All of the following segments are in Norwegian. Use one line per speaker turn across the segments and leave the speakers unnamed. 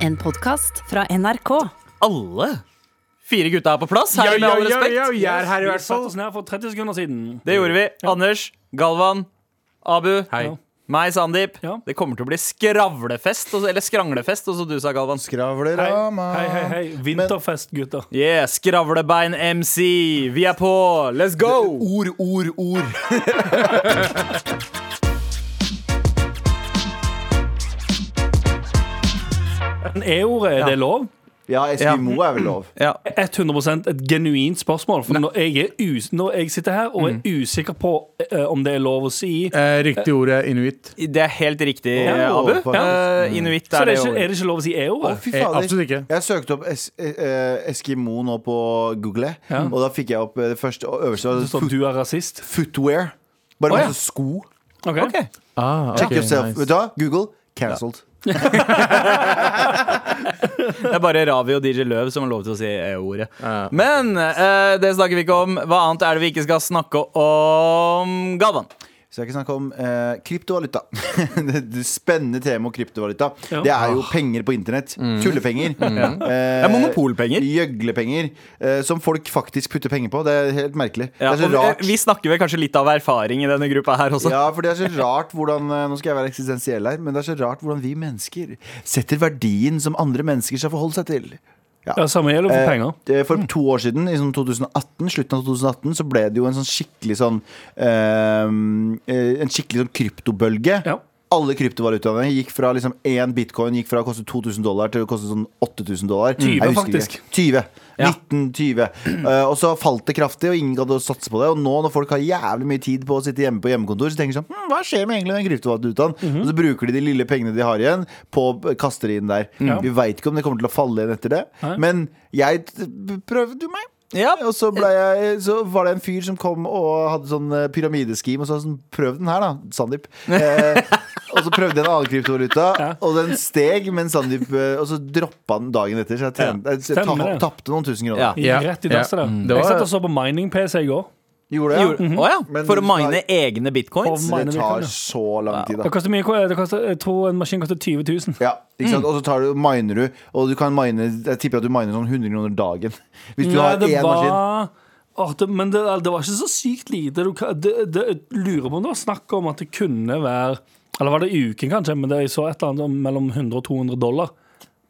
En podkast fra NRK.
alle fire gutta er på plass. Her,
Yo,
med all
yo, yo,
respekt.
yo, jeg er her i
Vi
hvert
satte
fall.
oss ned for 30 sekunder siden.
Det gjorde vi. Anders, Galvan, Abu.
Hei.
Ja.
Meg, Sandeep.
Ja.
Det kommer til å bli skravlefest, og- eller skranglefest, og så du sa, Galvan.
Hei,
Skravlerama.
hei, hei, hei. Vinterfest, gutter.
Yeah, Skravlebein-MC. Vi er på! Let's go!
Ord, ord, ord.
Men E-ordet, er det lov?
Ja, Eskimo er vel lov.
Ja.
100 et genuint spørsmål. For når jeg, er us når jeg sitter her og er usikker på eh, om det er lov å si
Eh, riktig ord er inuitt.
Det er helt riktig,
Ja,
Abu.
faktisk.
Ja. Inuitt
Så
er det.
det er, ikke,
ordet.
er det ikke lov å si
Å,
E-ordet?
fy
Eh,
fader.
absolutt ikke.
Jeg søkte opp es eh, eh, Eskimo nå på Google, og da fikk jeg opp eh, det første og øverste. var
Det står
Foot,
Sånn, du er rasist.
footwear. Bare
Å, ja.
masse sko.
Ok.
Ok.
Ah,
Check
ok,
yourself.
nice.
Vet du hva? Google cancelled.
Det er bare Ravi og DJ Løv som har lov til å si E-ordet. Men eh, det snakker vi ikke om. Hva annet er det vi ikke skal snakke om, Galvan?
Så jeg kan snakke om eh, kryptovaluta. det, det spennende temaet kryptovaluta.
Ja.
Det er jo penger på internett. Tullepenger. Eh,
Det er monopolpenger.
Gjøglepenger. eh, som folk faktisk putter penger på. Det er helt merkelig.
Ja,
det
og
er så rart.
vi- vi snakker vel kanskje litt av erfaring i denne gruppa her også.
Altså.
Ja, for det er så rart hvordan eh, Nå skal jeg være eksistensiell her, men det er så rart hvordan vi mennesker setter verdien som andre mennesker skal forholde seg til.
Ja, samme gjelder for
Eh,
penger. Mm.
det- For to år siden, i sånn 2018, slutten av 2018, så ble det jo en sånn skikkelig sånn eh, eh, En skikkelig sånn kryptobølge.
Ja.
Alle kryptovalutaene gikk fra liksom én bitcoin gikk fra å koste 2000 dollar til å koste sånn 8000 dollar.
20
Jeg husker
faktisk.
ikke. 20.
Ja.
1920. Eh, og så falt det kraftig, og ingen gadd å satse på det. Og nå når folk har jævlig mye tid på å sitte hjemme på hjemmekontor, så tenker de sånn hm, Hva skjer med egentlig den kryptovalutaen?
Mhm.
Og så bruker de de lille pengene de har igjen, på kaster de inn der. Vi veit ikke om det kommer til å falle igjen etter det,
Nei.
men jeg t- prøvde jo meg.
Ja,
Og så, ble jeg, så var det en fyr som kom og hadde sånn eh, pyramideskim og sa sånn Prøv den her, da, Sandeep. Eh, og så prøvde jeg en annen kryptovaluta, og den steg, men Sandeep eh, Og så droppa den dagen etter, så jeg, tjente, jeg
Stemmer
ta-
det.
tapte noen tusen kroner.
Ja.
Gikk
Ja,
Rett i
ja.
dasset der.
Mm, det var-
Jeg satt og så på mining-PC i går.
Gjorde det?
Gjorde,
Mhm.
Ja.
Mhm.
Å ja.
Men
For å
du skal-
mine egne bitcoins?
Å,
Det tar så lang tid,
Det
da.
koster mye, det koster, jeg tror en maskin koster 20 000.
Ja, ikke
Mm.
sant? Og så tar du, miner du, og du kan mine Jeg tipper at du miner sånn 100 kroner dagen. Hvis du har
det
én maskin.
var... Åh, det, men det, det var ikke så sykt lite. Du, kan- det, det, jeg lurer på om det var snakk om at det kunne være Eller var det i uken, kanskje? Men det, jeg så et eller annet om mellom 100 og 200 dollar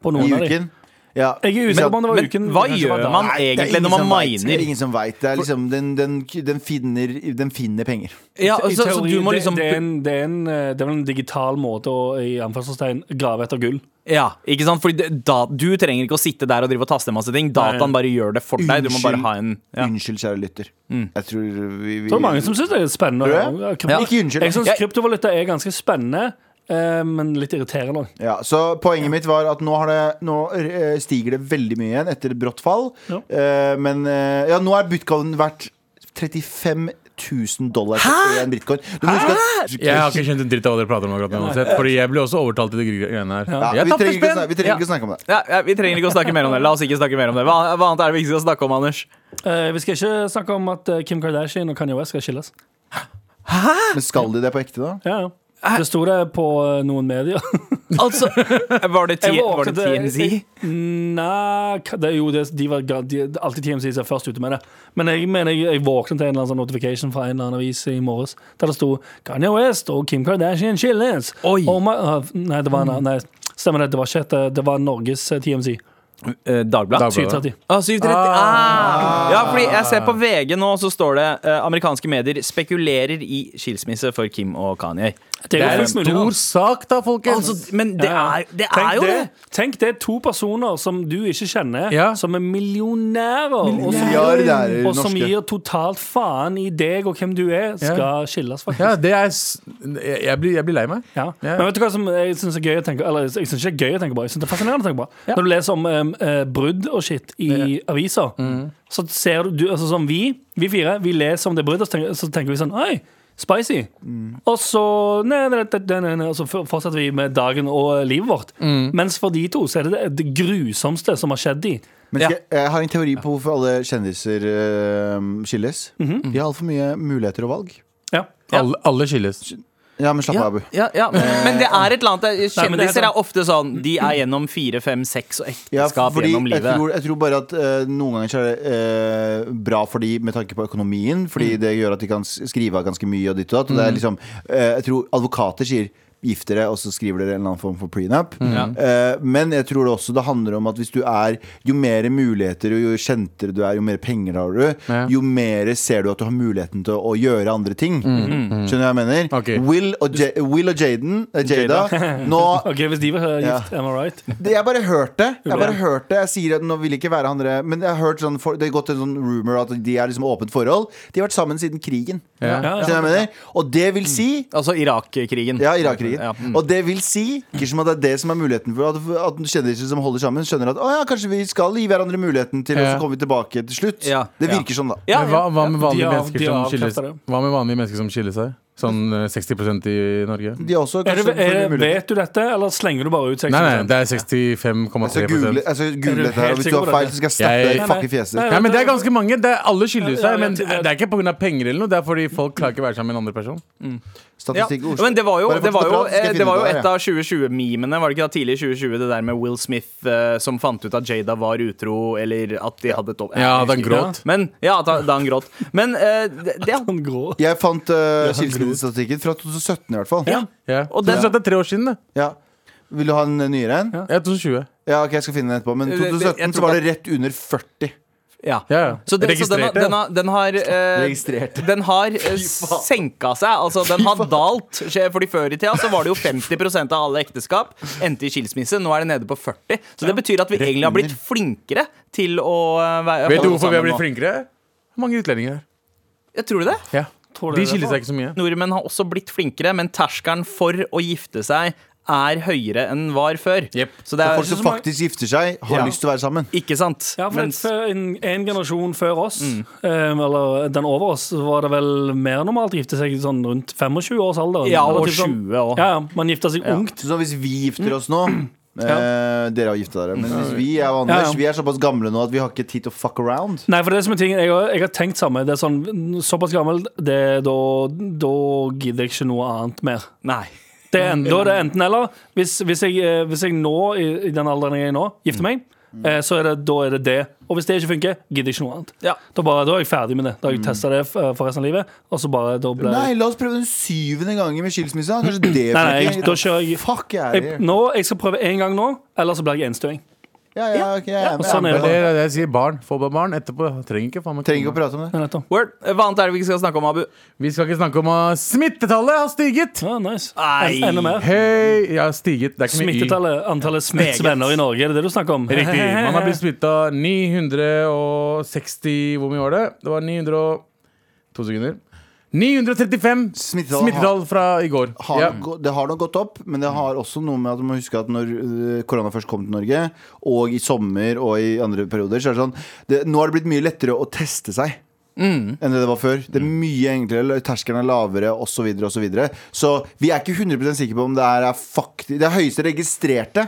på
I
noen av de.
uken. Ja.
Jeg er usikker på om det var
Men
uken.
hva
kanskje det var
gjør
dagen.
man
Det er
egentlig
ingen
når man
som vet. Det er
miner?
ingen som veit. Det er liksom den, den, den, finner, den finner penger.
Ja,
I
så, så
teori,
du må liksom
det, det, er en, det, er en, eh, det er vel en digital måte å i anførselstegn, grave etter gull.
Ja, ikke sant? Fordi det- da, Du trenger ikke å sitte der og drive og taste masse ting. Dataen bare gjør det for deg. Du må bare ha en ja. Mm.
Unnskyld, kjære lytter. Jeg tror vi, vi
Det er mange som syns det er spennende.
Mm. Tror du det?
Ja, krypt-
Ja. Ikke unnskyld.
Jeg syns
Jeg-
kryptovaluta er ganske spennende, eh, men litt irriterende òg.
ja, Så poenget mitt var at nå, har det, nå eh, stiger det veldig mye igjen etter et brått fall.
Ja.
Eh, men eh, ja, nå er bitcoin verdt 35 000 dollar for én bitcoin. Du må huske at-
Jeg har ikke skjønt en dritt av hva dere prater om akkurat nå. uansett, Fordi jeg ble også overtalt til de greiene her.
ja,
Jeg
vi
tapte
trenger, ikke, å
spenn.
snak- vi trenger
Ja.
ikke å snakke om det.
Ja, ja, Vi trenger ikke å snakke mer om det. La oss ikke snakke mer om det. Hva, hva annet er det vi ikke skal snakke om, Anders?
Eh, vi skal ikke snakke om at eh, Kim Kardashian og Kanye West skal skilles.
Men skal de det på ekte, da?
Ja, ja. Det sto det på eh, noen medier.
Altså, Var det,
Jeg
T-
var
var det
overrasket.
TNC?
Nei ka- det er jo det, de var ga- de, alltid TMC som er først ute med det. Men jeg mener jeg, jeg våknet til en eller annen sånn notification fra en eller annen avis i morges der det sto Kanye West og Kim Kardashian skilles.
Oi.
Oh my, ah, nei, det var en annen. Nei, stemmer det. Det var, ikke et, eh, det var Norges eh, TMC.
Eh, Dagbladet?
Dagbladet.
730.
Ah, 730. Ah. Ja, fordi jeg ser på VG nå, så står det eh, amerikanske medier spekulerer i skilsmisse for Kim og Kanye.
Det er en
fullt mulig, da.
stor sak, da, folkens.
Altså, men det
Ja, ja.
er, det
Tenk
er jo det!
Tenk det, to personer som du ikke kjenner,
Ja.
som er millionærer, og som-
Milliardærer
og som
norske.
gir totalt faen i deg og hvem du er, skal skilles, faktisk.
Ja, det er s- jeg, jeg, blir, jeg blir lei meg.
Ja.
Ja.
Men vet du hva som jeg syns er gøy å tenke Eller jeg synes ikke det er gøy å tenke på, jeg synes det er fascinerende å tenke på. Når du leser om em, eh, brudd og shit i aviser,
Mm.
så ser du, du altså, Som vi, vi fire, vi leser om det bruddet, så tenker, så tenker vi sånn Oi, spicy.
Mm.
Og så nei, nei, nei, nei, nei, nei, Og så f- fortsetter vi med dagen og eh, livet vårt.
Mm.
Mens for de to så er det det, det grusomste som har skjedd de.
Men skal, jeg har en teori på hvorfor alle kjendiser
Mhm.
eh, skilles. De har altfor mye muligheter og valg.
Ja.
Alle, alle skilles.
Ja, men slapp av, Abu.
Ja, ja. Men det er et eller annet
Nei, men det er
Kjendiser
sant.
er ofte sånn De er gjennom fire, fem, seks og
Ja,
ekteskap
fordi
gjennom
jeg
livet.
tror, jeg tror bare at eh, noen ganger så er det eh, bra for de med tanke på økonomien, fordi det gjør at de kan s- skrive av ganske mye og ditt og datt. Og det er liksom, eh, jeg tror advokater sier Gift dere, og så skriver dere en eller annen form for prenup. Eh, men jeg tror det også det handler om at hvis du er jo mer muligheter og jo kjentere du er, jo mer penger har du, jo mer ser du at du har muligheten til å, å gjøre andre ting. Skjønner du hva jeg mener?
Ok.
Will og, Ja- Will og Jaden, eh, Jada, nå
OK, hvis de var eh, gift, am I right?
det, jeg bare hørte det. Jeg bare hørte det. Jeg sier at nå vil ikke være han dere Men jeg har hørt sånn for, det har gått en sånn rumor at de er liksom åpent forhold. De har vært sammen siden krigen.
Ja, Mm.
Skjønner du hva jeg mener? Og det vil si
Altså Irak-krigen.
ja, Irak-krigen.
Ja, mm.
Og det vil si ikke som at det er det som er muligheten for at, at kjendiser som holder sammen, skjønner at å ja, kanskje vi skal gi hverandre muligheten til, og så
Ja.
kommer vi tilbake til slutt.
Ja.
Det
Ja.
virker sånn, da.
Ja,
Men hva, hva, med
de
vanlige
har-
mennesker
de
som
har
skiller
avkreftet
seg?
det.
Hva med vanlige mennesker som skiller seg? Sånn eh, 60 i Norge?
De har også
Er
kanskje
det, er,
muligheter.
vet du dette, eller slenger du bare ut 60
Nei, nei, det er
Altså, google,
65,3
altså, google
Er du
dette her,
helt
og hvis du
sikker
har
på
feil,
dette?
så skal jeg snappe
Jeg-
deg i fucking fjeset ditt.
Nei,
Nei, men Det er ganske mange. Det er, alle skiller
Ja, ja,
seg. Men det
jeg vet.
er ikke pga. penger eller noe. Det er fordi folk klarer ikke å være sammen med en andre person.
Ja,
Statistikk i Oslo.
men det var jo,
Bare
det var
fortsett å
jo,
prate, så skal jeg
eh, det var
finne
jo
ut av
et
det.
av 2020-memene, var det ikke da tidlig i 2020, det der med Will Smith eh, som fant ut at Jada var utro, eller at de hadde et over...
Ja, da han gråt.
Men, ja, da, da han gråt. Men eh, det, det
Han Sånn grå.
Jeg fant uh, skilsmissestatistikken fra 2017 i hvert fall.
Ja.
Ja.
Og
Og
den-
det, det er tre år siden, det.
Ja. Vil du ha en eh, nyere en? Ja.
Jeg er 2020.
ok, jeg skal finne den etterpå. Men
Det- det- jeg
2017
tror
så var
at-
det rett under
Ja.
40.
Ja, ja.
Så, det, så den, har-
Registrerte, ja.
den har, den har, eh,
Registrerte.
den har eh, senka seg. Altså, den har dalt. Skje- Fordi Før i tida så var det jo 50 av alle ekteskap endte i skilsmisse. Nå er det nede på 40 Så det betyr at vi egentlig har blitt flinkere til å eh, være-
Vet du
holde
hvorfor
sammen
vi har blitt
nå.
flinkere? Mange utlendinger her.
Jeg tror det.
Ja.
Tror
De
dere
skiller
det?
seg ikke så mye.
Nordmenn har også blitt flinkere, men terskelen for å gifte seg er høyere enn var før.
Jep.
Så det
Folk
er
som faktisk gifter seg, har
Ja.
lyst til å være sammen.
ikke sant.
Ja, for
Mens- Mm.
før- en, en generasjon før oss, eh, eller den over oss, så var det vel mer normalt å gifte seg sånn rundt 25 års alder.
ja,
Eller
og
typ sånn-
20 òg.
Ja, ja, man gifta seg ungt.
Så hvis vi gifter oss nå eh, Dere har gifta dere. Men hvis vi jeg og
Ja,
Anders
ja.
Vi er såpass gamle nå at vi har ikke tid til å fuck around.
Nei, for det som er ting, jeg har, jeg har tenkt samme. Det er sånn, Såpass gammel, det, da, da gidder jeg ikke noe annet mer.
Nei.
Det
Mm.
er, en- da er det enten eller. Hvis, hvis, jeg, eh, hvis jeg nå, i, i den alderen jeg er i nå,
Mm.
gifter meg, eh, så er det, da er det det. Og hvis det ikke funker, gidder jeg ikke noe annet.
Ja.
Da, bare, da er jeg ferdig med det. Da
Mm.
har jeg testa det eh, for resten av livet. Og så bare, da ble
Nei, la oss prøve den syvende gangen med skilsmisse. da. Kanskje det
Nei, nei, jeg-
funker.
da kjører jeg-
Fuck, jeg er
jeg,
her.
nå, jeg skal prøve én gang nå, eller så blir jeg enstøing.
Ja, ja, ok, jeg er med.
sånn
Det
er
Jeg er
er
med.
det det jeg sier. Barn. Få bare barn etterpå. Trenger ikke faen meg
Trenger ikke å prate om det.
Ja, nettopp.
Word. Hva annet er det vi ikke skal snakke om, Abu?
Vi skal ikke snakke om at smittetallet har stiget.
Ja, nice.
Nei.
En- Enda mer.
Høy Ja, stiget. Det er ikke mye i.
Smittetallet, antallet smitts
Meget.
venner i Norge, er det det du snakker om?
Riktig. Man har blitt smitta 960 Hvor mye var det? Det var 900 og To sekunder. 935
Smittetall.
smittetall fra i går.
har
Ja.
nok, gå- det har nok gått opp, men
Mm.
det har også noe med at du må huske at når øh, korona først kom til Norge, og i sommer og i andre perioder, så er det sånn det, Nå har det blitt mye lettere å teste seg.
Mm.
Enn det det var før. Det er mye enklere, terskelen er lavere osv. Så, videre, og så, videre. så vi er ikke 100 sikre på om det her er fakti det er høyeste registrerte.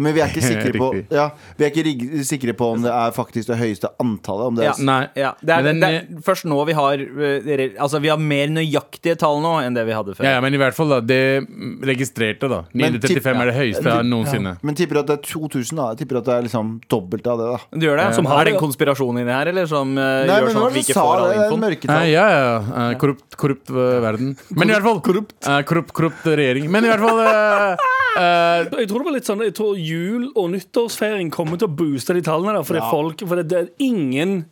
Men vi er ikke sikre på,
Riktig.
ja, vi er ikke rig- sikre på om det er faktisk det høyeste antallet. Om det
Ja.
er,
Nei.
Ja, det er,
Men den-
det er først nå vi har eh, re- Altså vi har mer nøyaktige tall nå enn det vi hadde før.
Ja, ja, men i hvert fall da, det registrerte, da.
Men tipp-
935 er det høyeste noensinne.
Men tipper at det er 2000, da. Jeg tipper at det er liksom dobbelt av det. da
Du gjør det?
Som har-
er det en konspirasjon inni her, eller? Som eh,
Nei,
gjør sånn
men hva
at
var
vi
det du
ikke
sa?
får all
Det er
infoen?
mørketall.
Nei, ja, ja. eh, Korrupt, korrupt eh, verden. Men i hvert fall Korrupt. korrupt, korrupt regjering. Men i hvert fall eh, eh,
Jeg tror det var litt sånn Jeg tror jul- og nyttårsfeiring kommer til å booste de tallene der. Fordi folk For det, det er ingen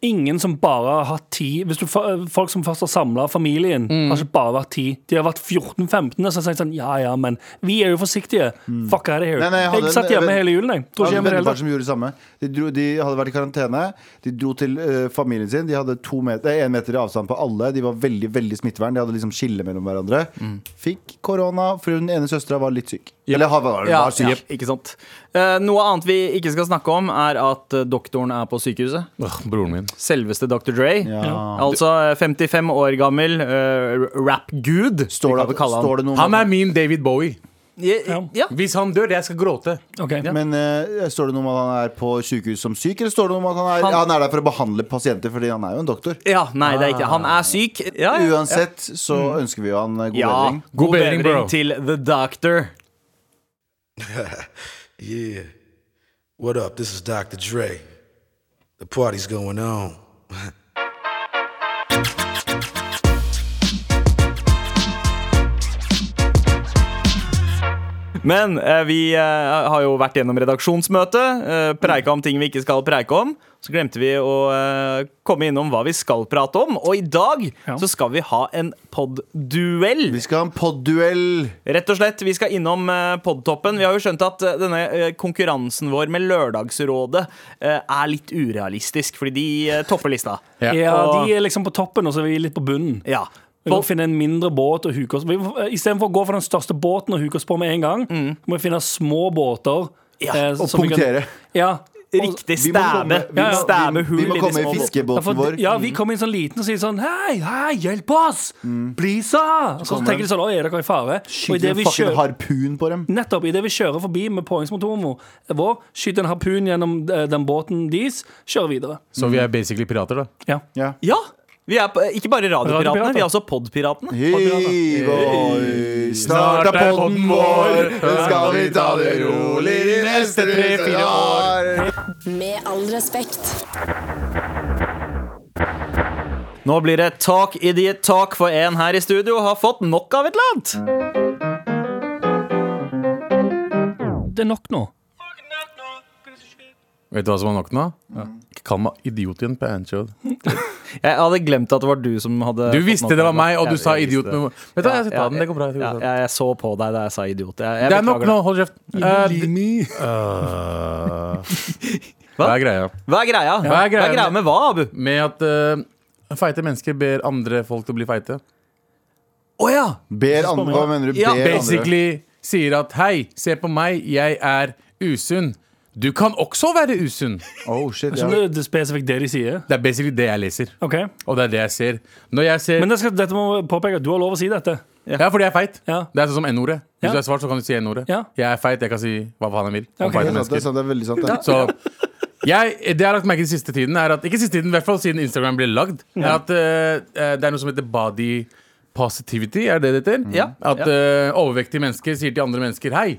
Ingen som bare har hatt ti Hvis du, fa- Folk som først har samla familien,
Mm.
har ikke bare vært ti. De har vært 14-15. Og så har jeg sagt sånn Ja ja, men vi er jo forsiktige. Fuck out of here.
Mm. Nei, nei, jeg hadde
jeg satt
en-
hjemme
jeg-
hele julen, jeg. Tror ikke
Jeg
hjemme i det
hadde et
hele
par
tatt.
som gjorde det samme. De, dro, de hadde vært i karantene. De dro til eh, familien sin. De hadde to meter, eh, en meter i avstand på alle. De var veldig veldig smittevern. De hadde liksom skille mellom hverandre.
Mm.
Fikk korona, for hun ene søstera var litt syk. Eller har, var,
Ja,
var syk.
ja, ikke sant. Eh, noe annet vi ikke skal snakke om, er at eh, doktoren er på sykehuset.
åh, Broren min.
Selveste Dr. Dre.
Ja.
Altså eh, 55 år gammel eh, rap-gud.
Står,
vi kan
det,
kalle han.
står det noe om
Han er min David Bowie.
Ja. ja.
Hvis han dør, jeg skal gråte.
Ok.
Men eh, står det noe om at han er på sykehus som syk, eller står det noe om at han er,
Han-
ja, han er der for å behandle pasienter, fordi han er jo en doktor?
Ja, nei, det er ikke Han er syk. Ja, ja. Mm.
Uansett så ønsker vi jo han eh, god
ja.
bedring.
God bedring, bro.
til The Doctor.
Yeah. What up? This is Dr. Dre. The party's going on.
Men eh, vi eh, har jo vært gjennom redaksjonsmøte, eh, preika om ting vi ikke skal preike om. Så glemte vi å eh, komme innom hva vi skal prate om, og i dag
Ja.
så skal vi ha en podduell.
Vi skal ha en podduell.
Rett og slett, Vi skal innom eh, podtoppen. Vi har jo skjønt at eh, denne eh, konkurransen vår med Lørdagsrådet eh, er litt urealistisk, fordi de eh, topper lista.
Ja.
Ja,
Og-
de er liksom på toppen, og så er vi litt på bunnen.
Ja.
Vi må finne en mindre båt og huke oss vi, Istedenfor å gå for den største båten og huke oss på med en gang, må vi finne små båter.
Ja,
eh,
Mm. og
som vi kan-
punktere.
Ja.
Riktig
Vi må komme-
stæbe.
vi må-
Stæbe hull
vi må
i de
komme
små
i
båtene.
Ja, for
fiskebåten vår.
de- ja, vi kommer inn sånn liten og sier sånn Hei, hei, hjelp oss! Please! ah!» Og så
Mm. kommer
tenker de sånn Oi, er dere i fare? Og
Skyter
idet
en
vi
fucking
kjører
harpun på dem.
Nettopp, Idet vi kjører forbi med påhengsmotoren vår- vår, skyter en harpun gjennom eh, den båten deres, kjører videre.
Så vi er
Mm.
basically pirater, da.
Ja.
Ja.
Ja! Vi er på, eh, ikke bare Radiopiratene,
Radiopiratene.
vi er også Podpiratene.
Hei, boy. Snart er podden vår. Skal vi ta det rolig de neste tre-fire år?
Med all respekt.
Nå blir det talk idiot talk, for en her i studio har fått nok av et eller annet.
Det er nok nå.
Vet du hva som var nok nå? Kall meg idiot igjen på Anchod.
Jeg hadde glemt at det var du som hadde
Du
fått
visste
nok
det var
av
meg, og du
Jeg-
sa
jeg
idiot.
visste
Med...
det.
Vet du hva, jeg skal
Ja,
ta den. Det går bra. Det, går
Ja,
bra.
jeg, jeg så på deg da jeg sa idiot. Jeg, jeg
det er nok
beklager
nå. Hold kjeft. Eh, d- Hva er greia?
Hva er greia? Hva er greia, med hva, Abu? Å
Med at eh, feite mennesker ber andre folk til å bli feite.
ja!
Ber andre, hva mener du?
Ja,
Ber andre.
Basically sier at hei, se på meg, jeg er usunn. Du kan også være usunn.
Oh, shit,
Så
ja.
det, det er spesifikt det de sier.
Det er basically det jeg leser.
Ok
Og det er det jeg ser. Når jeg ser
Men det skal, dette må påpeke at du har lov å si dette.
Ja, fordi jeg er feit.
Ja.
Det er sånn som N-ordet. Hvis
Ja.
du er svart, så kan du si N-ordet.
Ja.
Jeg er feit, jeg kan si hva faen jeg vil. Om
Ok.
Det
feite
er sant, det er
mennesker.
sant, det er veldig sant. Det.
Så jeg, det jeg har lagt merke til siste tiden, er at Ikke siste tiden, i hvert fall siden Instagram ble lagd, er at eh, det er noe som heter body positivity. Er det det heter?
Ja.
At
Ja.
eh, overvektige mennesker sier til andre mennesker Hei,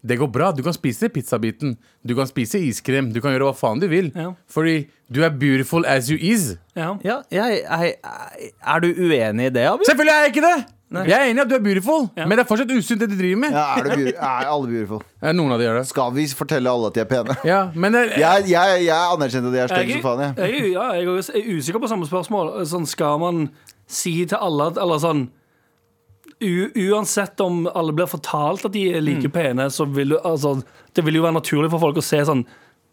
det går bra. Du kan spise pizzabiten. Du kan spise iskrem. Du kan gjøre hva faen du vil.
Ja.
Fordi du er beautiful as you is.
Ja.
ja jeg, jeg, er du uenig i det, Abu?
Selvfølgelig er jeg ikke det! Jeg er enig i at du er beautiful, men det er fortsatt usunt det du driver med.
Ja, er, du, beau- er alle beautiful?
Eh, Noen av de gjør det.
Skal vi fortelle alle at de er pene?
Ja, men det,
Jeg, jeg, jeg anerkjente at jeg er stygg
Jeg,
som faen,
jeg,
jeg.
ja, jeg er også- jeg er usikker på samme spørsmål. Sånn, skal man si til alle at Eller sånn u, Uansett om alle blir fortalt at de er like
Mm.
pene, så vil du altså, Det vil jo være naturlig for folk å se sånn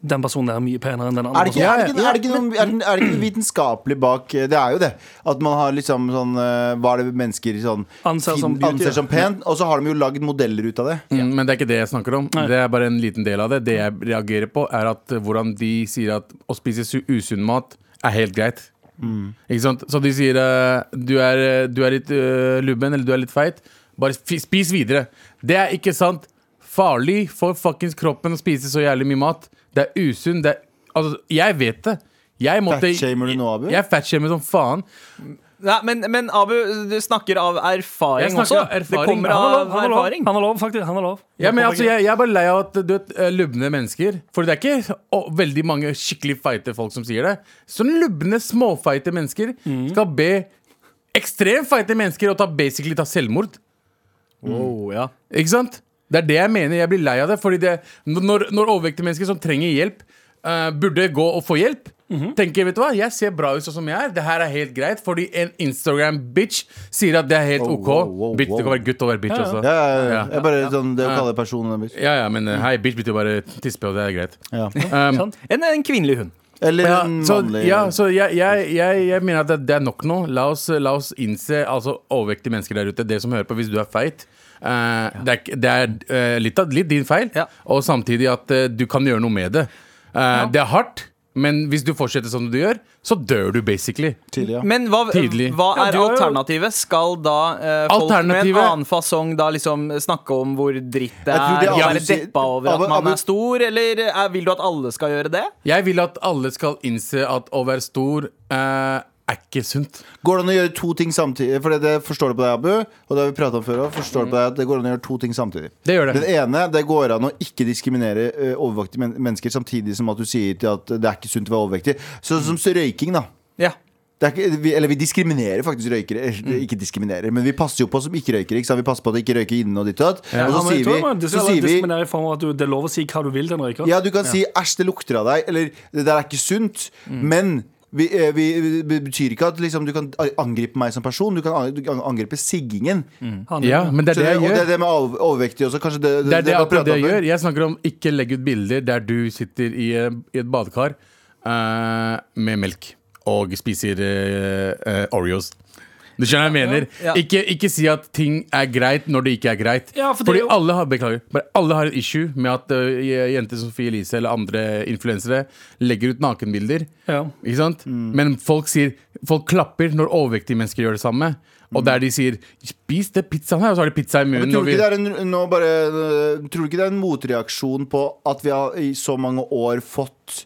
Den personen der er mye penere enn den andre.
Er det, ikke,
personen."
er, det ikke, er, det ikke noe, er, det, er det ikke noe vitenskapelig bak eh, Det er jo det. At man har liksom sånn eh, Hva er det mennesker sånn,
Anser som
fin-
beauty, ja.
anser som pent? Og så har de jo lagd modeller ut av det.
Mm, Men det er ikke det jeg snakker om. Det er bare en liten del av det. Det jeg reagerer på, er at eh, hvordan de sier at å spise su- usunn mat er helt greit.
Mm.
Ikke sant? Så de sier eh, du er, eh, du er litt eh, lubben eller du er litt feit, bare spi- spis videre. Det er ikke sant. Farlig for fuckings kroppen å spise så jævlig mye mat. Det er usunn. Det er, altså, jeg vet det. Jeg måtte
Fatshamer du nå, Abu?
Jeg fatshamer som faen.
Nei, men, men Abu, du snakker av erfaring
Jeg
også.
snakker av erfaring.
Det kommer
Han har lov,
av
han har lov,
erfaring.
han har lov faktisk. Han har lov.
Ja, men altså, jeg, jeg er bare lei av at du vet, eh, lubne mennesker For det er ikke å, veldig mange skikkelig feite folk som sier det. Sånne lubne, småfeite mennesker
Mm.
skal be ekstremt feite mennesker å ta, basically ta selvmord.
Oh, ja.
Ikke sant? Det er det jeg mener. Jeg blir lei av det. Fordi det, når, når overvektige mennesker som trenger hjelp, eh, burde gå og få hjelp,
Mhm.
tenker vet du hva, jeg ser bra ut sånn som jeg er. Det her er helt greit. Fordi en Instagram-bitch sier at det er helt
Oh,
OK.
wow, wow,
bitch,
wow.
Du kan være gutt og være bitch
Ja, ja.
også.
Ja, ja, ja.
Ja.
Jeg bare, sånn, det å kalle det personen bitch.
Ja, ja, men eh, hei, bitch betyr bare tispe, og det er greit.
Ja.
Um,
Sant?
En, en kvinnelig hund.
Eller
ja,
Um, en
så,
mannlig
ja, så jeg, jeg, jeg, jeg mener at det, det er nok nå. La oss, la oss innse altså, overvektige mennesker der ute, det som hører på hvis du er feit. eh, Det er, ikke- det er eh, litt, av, litt din feil,
Ja.
og samtidig at eh, du kan gjøre noe med det. Eh, Det er hardt, Men hvis du fortsetter sånn du gjør, så dør du basically.
Tidlig, ja.
Men hva,
Tidlig.
hva
Ja,
er
du har jo-
alternativet? Skal da eh, folk med en
Alternativet-
annen fasong da liksom snakke om hvor dritt det
Jeg tror
er,
det
og
Abu
være
sier-
deppa over at
Abu-
man
Abu-
er stor, eller er, vil du at alle skal gjøre det?
Jeg vil at alle skal innse at å være stor eh, er ikke sunt.
Går det an å gjøre to ting samtidig? For det, det forstår du på deg, Abu. Og det har vi pratet om før også, Forstår du på deg at det går an å gjøre to ting samtidig.
Det gjør det.
Den ene, det går an å ikke diskriminere ø, overvektige men mennesker samtidig som at du sier til at det er ikke sunt å være overvektig. Sånn som så røyking, da.
Ja.
Det er ikke, vi, eller vi diskriminerer faktisk røykere. Eller,
Mm.
Ikke diskriminerer, men vi passer jo på som ikke røykere. Ikke sant? Vi passer på at de ikke røyker inne og ditt og datt. Og
Ja,
så
men jeg
sier
tror man
vi, så
diskriminerer-
sier vi
diskriminerer i form av at du, det er lov å si hva du vil til en røyker.
ja, du kan si 'æsj, det lukter av deg', eller 'det der er ikke sunt',
Mm.
men vi, eh, vi, det betyr ikke at liksom, du kan angripe meg som person. Du kan an- du kan angripe siggingen.
Han-
Ja, men det
Så
er det
det,
jeg
og det er
gjør.
det med over- overvektige også. Kanskje det,
Mm. Det er det
var
akkurat
pratet
det
om
jeg
før.
gjør. Jeg snakker om ikke legge ut bilder der du sitter i, eh, i et badekar eh, med melk og spiser eh, eh, Oreos. Du skjønner hva jeg mener?
Ja, ja.
Ikke, ikke si at ting er greit når det ikke er greit.
Ja, for det
Fordi
er jo-
alle har, beklager, bare alle har et issue med at eh, jenter som Sofie Elise eller andre influensere legger ut nakenbilder.
Ja.
Ikke sant? Men folk sier Folk klapper når overvektige mennesker gjør det samme. Og der de sier 'spis det pizzaen her', og så har de pizza i munnen.
Men tror
og
du
vi-
ikke det er en, nå bare, øh, tror du ikke det er en motreaksjon på at vi har i så mange år fått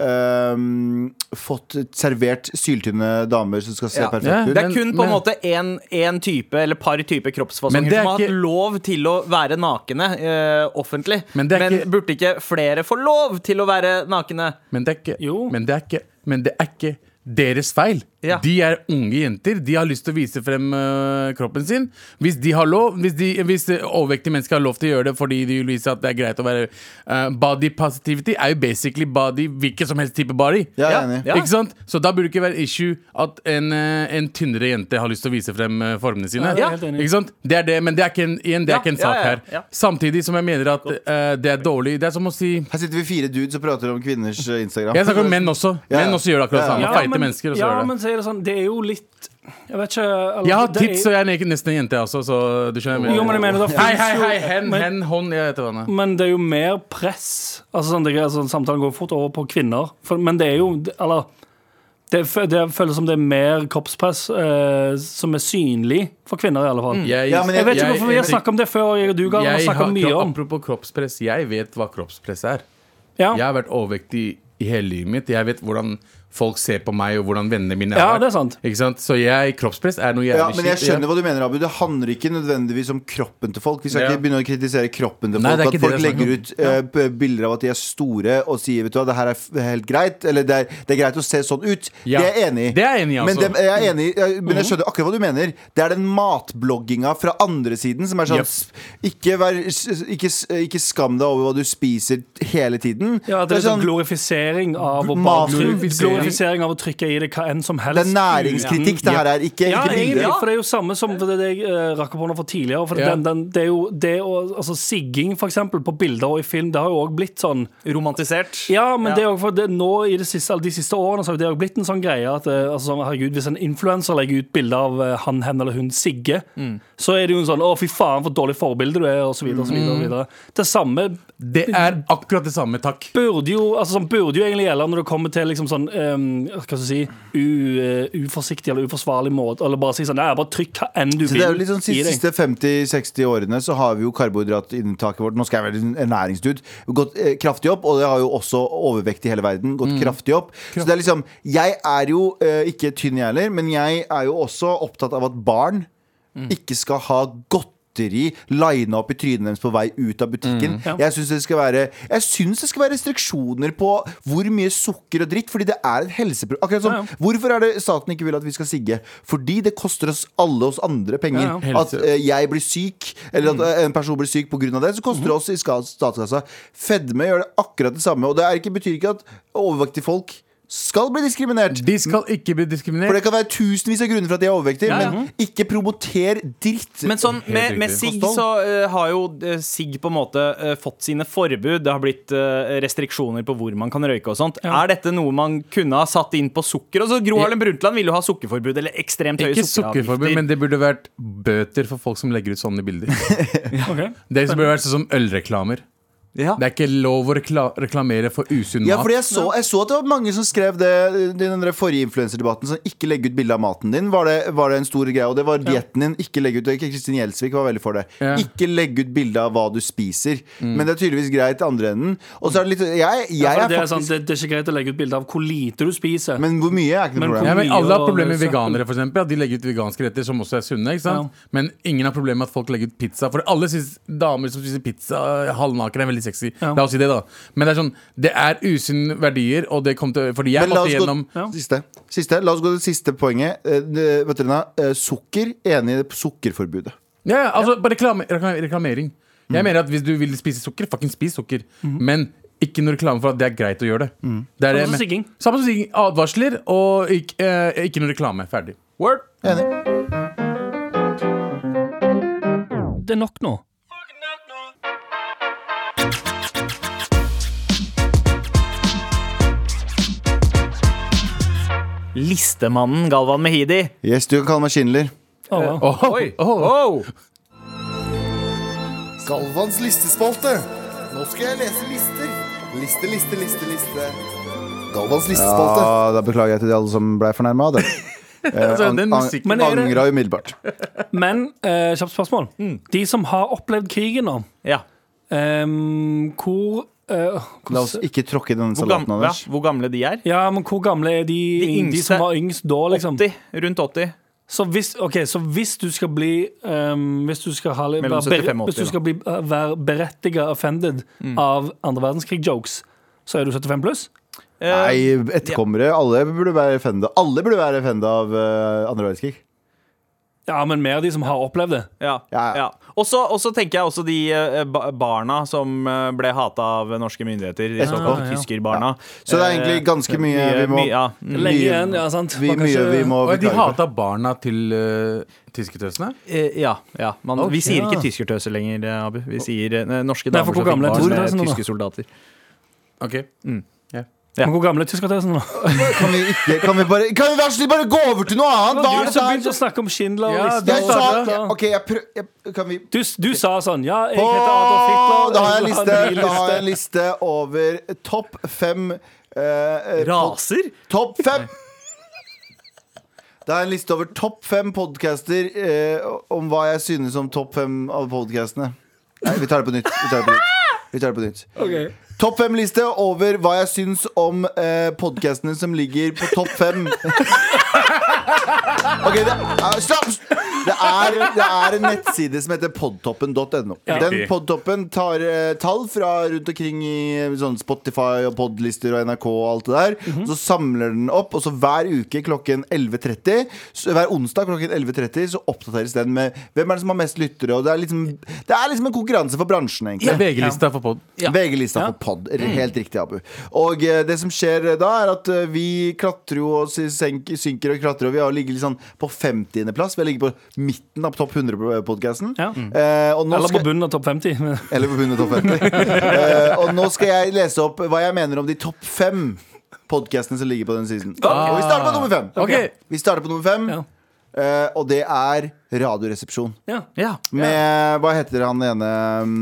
øhm, fått servert syltynne damer som skal se
Ja.
perfekte
Ja,
ut.
Det er
Men-
kun på en
men-
måte en, en type eller par type
Men
kroppsfasonger
det er
som har hatt
ikke-
lov til å være nakene eh, offentlig.
Men det er ikke-
burde ikke flere få lov til å være nakne?
Men det er ikke,
Jo.
men det er ikke, men det er ikke deres feil.
Ja.
De er unge jenter. De har lyst til å vise frem øh, kroppen sin. Hvis de har lov Hvis, de, hvis øh, overvektige mennesker har lov til å gjøre det fordi de vil vise at det er greit å være øh, Body positivity er jo basically body hvilken som helst type body.
Jeg er enig.
Ja.
Ikke sant? Så da burde det ikke være issue at en, øh, en tynnere jente har lyst til å vise frem øh, formene sine.
Ja, jeg er helt enig.
Ikke sant? Det er det, men det er ikke en, igjen, det
Ja,
er ikke
ja,
en sak
ja,
her.
ja.
Samtidig som jeg mener at øh, det er dårlig. Det er som å si
Her sitter vi fire dudes og prater om kvinners øh, Instagram.
jeg snakker om menn også.
Ja, ja.
Menn også gjør det akkurat det samme.
Ja,
Feite
men-
mennesker også
ja,
gjør det.
men så er det sånn, det er jo litt Jeg vet ikke eller,
Jeg har
det er-
tits, og jeg er nek- nesten en jente, jeg også, så du skjønner.
Jo, men jeg mener, da
hei,
finnes
hei,
jo-
hei, hen,
men- Mm.
hen, hånd, jeg vet hva det er.
Men det er jo mer press. Altså, sånn, det, er- altså, samtalen går fort over på kvinner. For, men det er jo det- Eller det, fø- det føles som det er mer kroppspress eh, som er synlig for kvinner, i alle fall.
Jeg,
Ja, men
Jeg vet ikke hvorfor vi har
jeg-
snakket om det før, jeg og du Galvan, har
jeg
snakket
har-
mye om.
Apropos kroppspress, jeg vet hva kroppspress er.
Ja.
Jeg har vært overvektig i hele livet mitt. Jeg vet hvordan folk ser på meg, og hvordan vennene mine
Ja,
har.
det er sant.
Ikke sant? Så jeg, kroppspress er noe jævlig
Ja, men jeg
shit.
skjønner hva du mener, Abu. Det handler ikke nødvendigvis om kroppen til folk. Vi skal
Ja.
ikke begynne å kritisere kroppen til folk.
Nei, det er ikke
at folk
det jeg
legger
snakker
ut eh, b- bilder av at de er store og sier vet du hva, det her er f helt greit. Eller det er, det er greit å se sånn ut.
Ja.
Det er jeg enig i.
Det er jeg enig i, altså. Mhm.
Men, det- jeg er enig, i- jeg, men jeg skjønner akkurat hva du mener. Det er den matblogginga fra andre siden som er sånn
Yep.
s- ikke, vær, s- ikke, s- ikke skam deg over hva du spiser hele tiden.
Ja, at det er sånn glorifisering av å bare trykke,
Glorifisering.
glorifisering av å trykke i det hva enn som
det
helst.
er næringskritikk, det her er ikke,
Ja,
ikke
egentlig,
bilder.
for det er jo samme som det jeg eh, rakk opp hånda for tidligere. For
Ja.
den, den, det er jo det å, altså Sigging, for eksempel, på bilder og i film, det har jo òg blitt sånn
Romantisert?
Ja, men det er jo for det, nå i det siste, alle de siste årene så har jo det jo blitt en sånn greie at eh, altså, sånn, herregud, hvis en influenser legger ut bilde av eh, han, hen eller hun Sigge,
Mm.
så er det jo en sånn 'Å, fy faen, for dårlig forbilde du er', og så videre og så videre. Og
Mm.
så videre. Det samme
Det er akkurat det samme, takk.
burde jo, altså, sånn, burde jo egentlig gjelde når det kommer til liksom sånn eh, Hva skal jeg si u, eh, uforsiktig eller uforsvarlig måte, eller bare si sånn 'Nei, bare trykk hva enn du
Så det er jo
vil
litt sånn
i deg'.
siste, siste 50-60 årene så har vi jo karbohydratinntaket vårt Nå skal jeg være en ernæringsdude. Gått eh, kraftig opp, og det har jo også overvekt i hele
Mm.
verden. Gått kraftig opp. Så det er liksom Jeg er jo eh, ikke tynn, jeg heller, men jeg er jo også opptatt av at barn
Mm.
ikke skal ha godteri Line opp i trynet deres på vei ut av butikken.
Mm. Ja.
Jeg syns det skal være Jeg synes det skal være restriksjoner på hvor mye sukker og dritt, fordi det er et helseproblem. Akkurat som
Ja, ja.
Hvorfor er det staten ikke vil at vi skal sigge? Fordi det koster oss alle oss andre penger.
Ja,
ja.
At eh, jeg blir syk, eller at eh, en person blir syk pga. det, så koster det oss i ska- statskassa. Fedme gjør det akkurat det samme, og det er ikke, betyr ikke at overvektige folk skal bli diskriminert.
De skal ikke bli diskriminert.
For det kan være tusenvis av grunner for at de er overvektige,
Ja, ja.
men ikke promoter dritt.
Men sånn, med,
riktig.
med sigg
Kosthold.
så eh, har jo eh, sigg på en måte eh, fått sine forbud. Det har blitt eh, restriksjoner på hvor man kan røyke og sånt. Er dette noe man kunne ha satt inn på sukker? Og så Gro Harlem Brundtland ville jo ha sukkerforbud, eller ekstremt høye
Ikke sukkerforbud,
sukkeravgifter.
men det burde vært bøter for folk som legger ut sånne bilder.
Ok.
Det som burde vært sånn som ølreklamer.
Ja.
Det er ikke lov å rekla reklamere for usunn
Ja,
mat.
fordi jeg så, jeg så at det var mange som skrev det i den der forrige influenserdebatten. Sånn, ikke legge ut bilde av maten din, var det, var det en stor greie. Og det var dietten din. Ikke legge ut det. Kristin Gjelsvik var veldig for det.
Ja.
Ikke legge ut bilde av hva du spiser. Men det er tydeligvis greit i andre enden. Og så er det litt Jeg, jeg
Mm. Ja,
er
for det, er sånn- sant,
faktisk
det, det er ikke greit å legge ut bilde av hvor lite du spiser.
Men hvor mye er ikke noe
Men
problem.
Ja, men alle har
Mye å
problemer med
løse.
veganere, for eksempel. At de legger ut veganske retter som også er sunne. ikke sant? Men ingen har problemer med at folk legger ut pizza. For alle synes damer som spiser pizza halvnaken, er veldig sexy.
Ja.
La oss si det, da. Men det er sånn, det er usunne verdier, og det kom til Fordi jeg
Men la
måtte
oss, gå,
gjennom
Ja.
siste, siste, la oss gå til det siste poenget. Eh, det- Veterina, eh, sukker. Enig i det- sukkerforbudet.
Ja, ja, Mm. altså bare reklame, reklame, reklamering. Jeg mener at hvis du vil spise sukker, fucking spis sukker. Men ikke noe reklame for at det er greit å gjøre det. det, er
Samme
det
som
men-
sigging.
Mm. Samme som sigging. Advarsler og ikke, eh, ikke noe reklame. Ferdig.
Word.
Enig.
Det er nok nå.
Listemannen Galvan Mehidi.
Yes, du kan kalle meg Schindler.
Å, wow.
Oh,
Oh.
Galvans listespalte. Nå skal jeg lese lister. Liste, liste, liste, liste. Galvans listespalte.
Ja, da beklager jeg til de alle som ble fornærma.
Altså, den musikken-
Men er det-
Eh, Angra umiddelbart.
Men eh, kjapt spørsmål.
Mm.
De som har opplevd krigen nå,
Ja.
ehm, hvor eh,
La oss
hvordan-
ikke tråkke i denne
Hvor,
salaten,
gamle, ja.
Anders.
Hvor gamle de er?
ja, men hvor gamle er de, de,
yngste-
som var yngst da, liksom?
80? Rundt 80?
Så hvis, ok, så hvis du skal bli um, Hvis du skal, ha,
Mellom
være,
75 og
bere- hvis
80,
du skal bli, uh, være berettiget offended
Mm.
av andre verdenskrig-jokes, så er du 75 pluss?
Nei, etterkommere. Alle burde være offenda. Alle burde være offenda av eh, andre verdenskrig.
Ja, men mer de som har opplevd det.
Ja.
Ja, ja.
ja. Og så og så tenker jeg også de eh, ba- barna som eh, ble hata av norske myndigheter, de såkalt
ja.
tyskerbarna.
Så det er egentlig ganske mye vi må
mye, ja. Mm.
Lenge
mye-
igjen, ja, sant.
Vi,
Man kan
mye
ikke-
vi må
Og de
beklage.
hata barna til uh, tyskertøsene?
Eh, ja, ja. Man, vi sier
ja.
ikke tyskertøser lenger, eh, Abu. Vi sier eh, norske
Nei,
damer
for
som
hvor gamle
fikk
er
barn med
tyskertøsene nå, da?
tyske soldater.
Ok.
Ja.
Men hvor gamle er tyskertøsene nå?
Kan vi, ikke, kan vi bare Kan vi vær så snill bare gå over til noe annet?
Du
Hva er
som
det
begynte å
der?
snakke om Schindler og
Ja,
lister
Jeg
og
sa
sånt, ja.
OK, jeg prøver Kan vi
du, du sa sånn Ja, jeg heter Adolf
Åh,
Hitler.
Da har jeg en
vil ha
liste,
en
da har jeg en
liste.
liste over topp fem eh, eh,
Raser?
Topp fem Det er en liste over topp fem podcaster eh, Om hva jeg synes om topp fem av podcastene Nei, vi tar det på nytt Vi tar det på nytt, vi tar det på nytt. Topp fem liste over hva jeg syns om eh, podcastene som ligger på topp fem Ok, det er, stopp! Det er, det er en nettside som heter podtoppen.no. Den podtoppen tar eh, tall fra rundt omkring i eh, sånn Spotify og podlister og NRK og alt det der. Så samler den opp, og så hver uke klokken 11.30 så Hver onsdag klokken 11.30 så oppdateres den med hvem er det som har mest lyttere. Og det er liksom, det er liksom en konkurranse for bransjen, egentlig.
Det er VG-lista for pod.
VG-lista for pod.
Mm.
Helt riktig, Abu. Og eh, det som skjer eh, da, er at eh, vi klatrer jo og sy- senk- synker og klatrer. Og vi har ligget litt sånn på 50.-plass. Vi har ligget på midten av topp eh, 100-podkasten.
Ja.
Mm. Eh, og nå
Eller på
skal,
bunnen av topp 50. men-
eller på bunnen av topp 50. Eh, og nå skal jeg lese opp hva jeg mener om de topp fem podkastene som ligger på den siden. Og vi starter på nummer fem.
Ok.
Vi starter på nummer fem,
Ah. Ja.
eh, og det er Radioresepsjon.
Ja.
Ja.
Med Hva heter han ene um,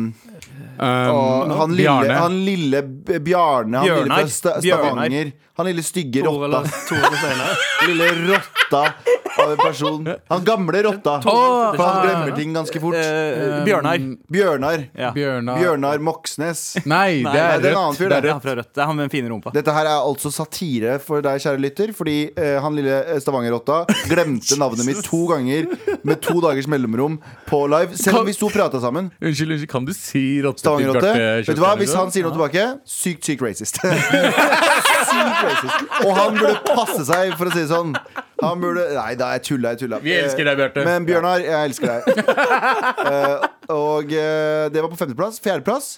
og han lille
Um,
Bjarne.
Bjarne.
Han lille B- Bjarne han lille
Bjørnar.
fra Sta-
Bjørnar.
Stavanger. Han lille stygge
Tore
rotta.
eller Tore eller Steinar.
Lille rotta av en person.
Eh,
Han gamle rotta.
Å,
For han
ah,
glemmer ting ganske fort.
Eh, Bjørnar.
Bjørnar.
Ja.
Mm, Bjørnar
Bjørnar Moxnes.
Nei, det
Nei,
er
det er en annen
rødt.
fyr,
Det er
det.
Ja, fra Rødt. Det er han med den fine rumpa.
Dette her er altså satire for deg, kjære lytter, fordi eh, han lille eh, Stavanger-rotta glemte navnet mitt to ganger med to dagers mellomrom på live, selv om vi sto og prata sammen.
Unnskyld, unnskyld, kan du si rotte til
Stavanger-rotte.
Bjarte
Vet du hva,
Kjøstheim,
Hvis
liksom?
han sier noe tilbake, sykt, sykt racist. sykt racist. Og han burde passe seg, for å si det sånn. Han burde Nei da, jeg tulla, jeg tulla.
Vi elsker deg, Bjarte.
Men Bjørnar, jeg elsker deg. Eh, og eh, det var på femteplass. Fjerdeplass.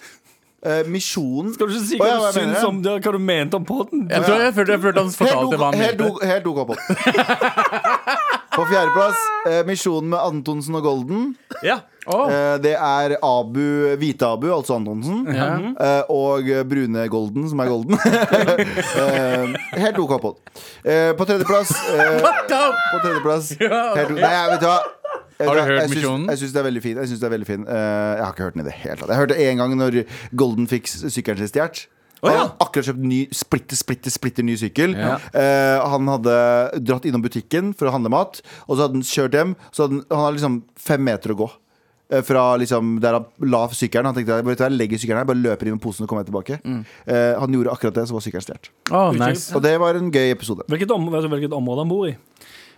Uh, misjonen
Skal du ikke si
Å,
hva
ja, hva
du
jeg mener,
syns
ja.
om det, hva du mente om podden?
Jeg tror jeg følte jeg følte han
Helt
fortalte
ok-
hva han
helt
mente.
ok- Helt OK på. På fjerdeplass, eh, Misjonen med Antonsen og Golden.
Ja.
Eh, det er Abu, Hvite Abu, altså Antonsen. eh, og Brune Golden, som er Golden. Eh, helt OK pod. Eh, på tredjeplass eh, På tredjeplass helt, o- Nei, vet du hva. Jeg-
Har du hørt
jeg syns-
misjonen?
Jeg syns det er veldig fin. Jeg, synes det er veldig fin. Eh, jeg har ikke hørt den i det hele tatt. Jeg hørte en gang når Golden fikk sykkelen sin stjålet. Han hadde akkurat kjøpt ny, splitter, splitter, splitter ny sykkel.
Ja.
Eh, han hadde dratt innom butikken for å handle mat, og så hadde han kjørt hjem. Så hadde han, han hadde liksom fem meter å gå. eh, Fra liksom der han la sykkelen. Han tenkte vet du hva, jeg legger sykkelen her, bare løper inn med posen og kommer tilbake.
Mm.
Eh, han gjorde akkurat det, så var sykkelen stjålet.
Å, nice.
Og det var en gøy episode.
Hvilket, om, vet du hvilket område han bor i?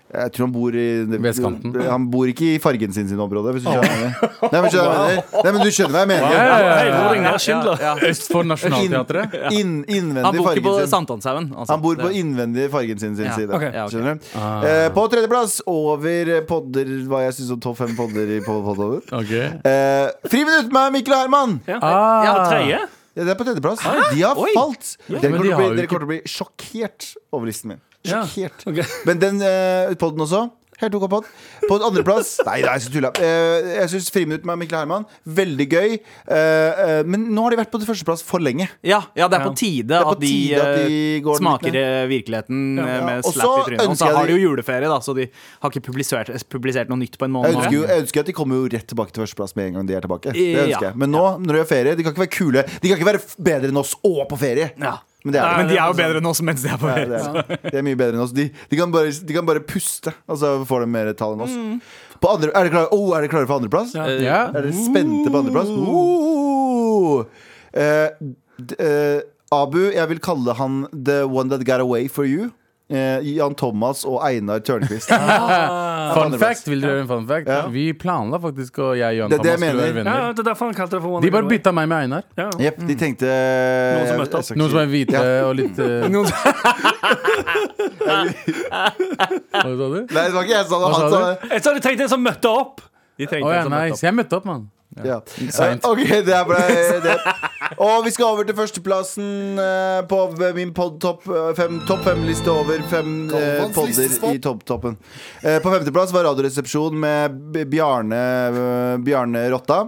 Jeg tror han bor i
Vestkanten.
Han bor ikke i fargen sin sin område, hvis du skjønner hva jeg mener. Nei, men skjønner hva jeg mener. Nei, men du skjønner hva jeg mener.
Ja, ja,
Hei, hvor
ja.
ringer Schindler?
Ja, ja.
Øst for Nationaltheatret.
Inn,
Han
innvendig
bor ikke på
fargen sin.
Sankthanshaugen. altså.
Han bor på
Det-
innvendig fargen sin sin
Ja,
side.
ok.
Ja, ok.
Skjønner du?
Ah.
Eh, på tredjeplass, over podder hva jeg syns om topp fem podder i podder.
Ok.
Eh, Friminutt med Mikkel og Herman!
Ja.
Ah.
ja, tredje?
Ja, det er på tredjeplass. De har
Oi.
falt! Dere
men de
kommer til å
har
bli,
jo
dere
ikke-
kommer til å bli sjokkert over listen min.
Ja.
Sjokkert.
Ok.
Men den uh, podden også Helt ok podd På en andreplass Nei, nei, så tulla Eh, Jeg synes friminutt med Mikkel Herman Veldig gøy Eh, eh, Men nå har de vært på det førsteplass for lenge
Ja, ja, det er
Ja.
på tide,
på
at, de,
tide at de
eh,
går den litt
smaker eh, virkeligheten eh, med
Og
slap
så
i trynet. Og
ønsker
så
jeg
har de
de-
jo juleferie, da, så de har ikke publisert, publisert noe nytt på en måned.
jeg ønsker,
nå.
jo, jeg ønsker at de kommer jo rett tilbake til førsteplass Med en gang de er tilbake Det
Ja.
ønsker jeg Men nå, når de har ferie De kan ikke være kule De kan ikke være f- bedre enn oss Og på ferie
Ja.
Men det er
Men
de
de er altså- jo bedre enn oss mens de er på
Nei,
ferie.
det, er, det er mye bedre enn oss. De, de, kan, bare, de kan bare puste, altså, og så får de mer tall enn oss.
Mm.
På andre, er dere klare oh, er dere klare for andreplass?
Ja.
Er dere spente på andreplass? Oh. Eh, d- eh, Abu, jeg vil kalle han The One That Got Away For You. Eh, Jan Thomas og Einar Tørnquist. det
Fun fact, vil dere høre en fun fact?
Ja.
Vi planla faktisk å jeg og Jan
Det er det jeg
Thomas skulle være
mener.
Ja,
venner.
det er derfor han kalte det for One
De bare
Night Away.
bytta meg med Einar.
Ja.
Jepp, de tenkte eh,
Noen som møtte opp.
Jeg skal
Noen som
ikke
er hvite og litt eh, Hva sa du?
si- Nei, det var ikke jeg som sa
Hva
det. Han
sa
sa det.
Jeg sa de tenkte en som møtte opp.
De
Å
trengte
ja,
en sånn
nice. Jeg møtte opp, mann.
Ja.
Seint.
Eh, Ok, det er ble det. Og vi skal over til førsteplassen eh, på v- min pod topp eh, fem, topp fem-liste over fem eh,
Galvans
podder
listespot.
i topptoppen. Eh, på femteplass var Radioresepsjon med B- Bjarne eh, Bjarne Rotta.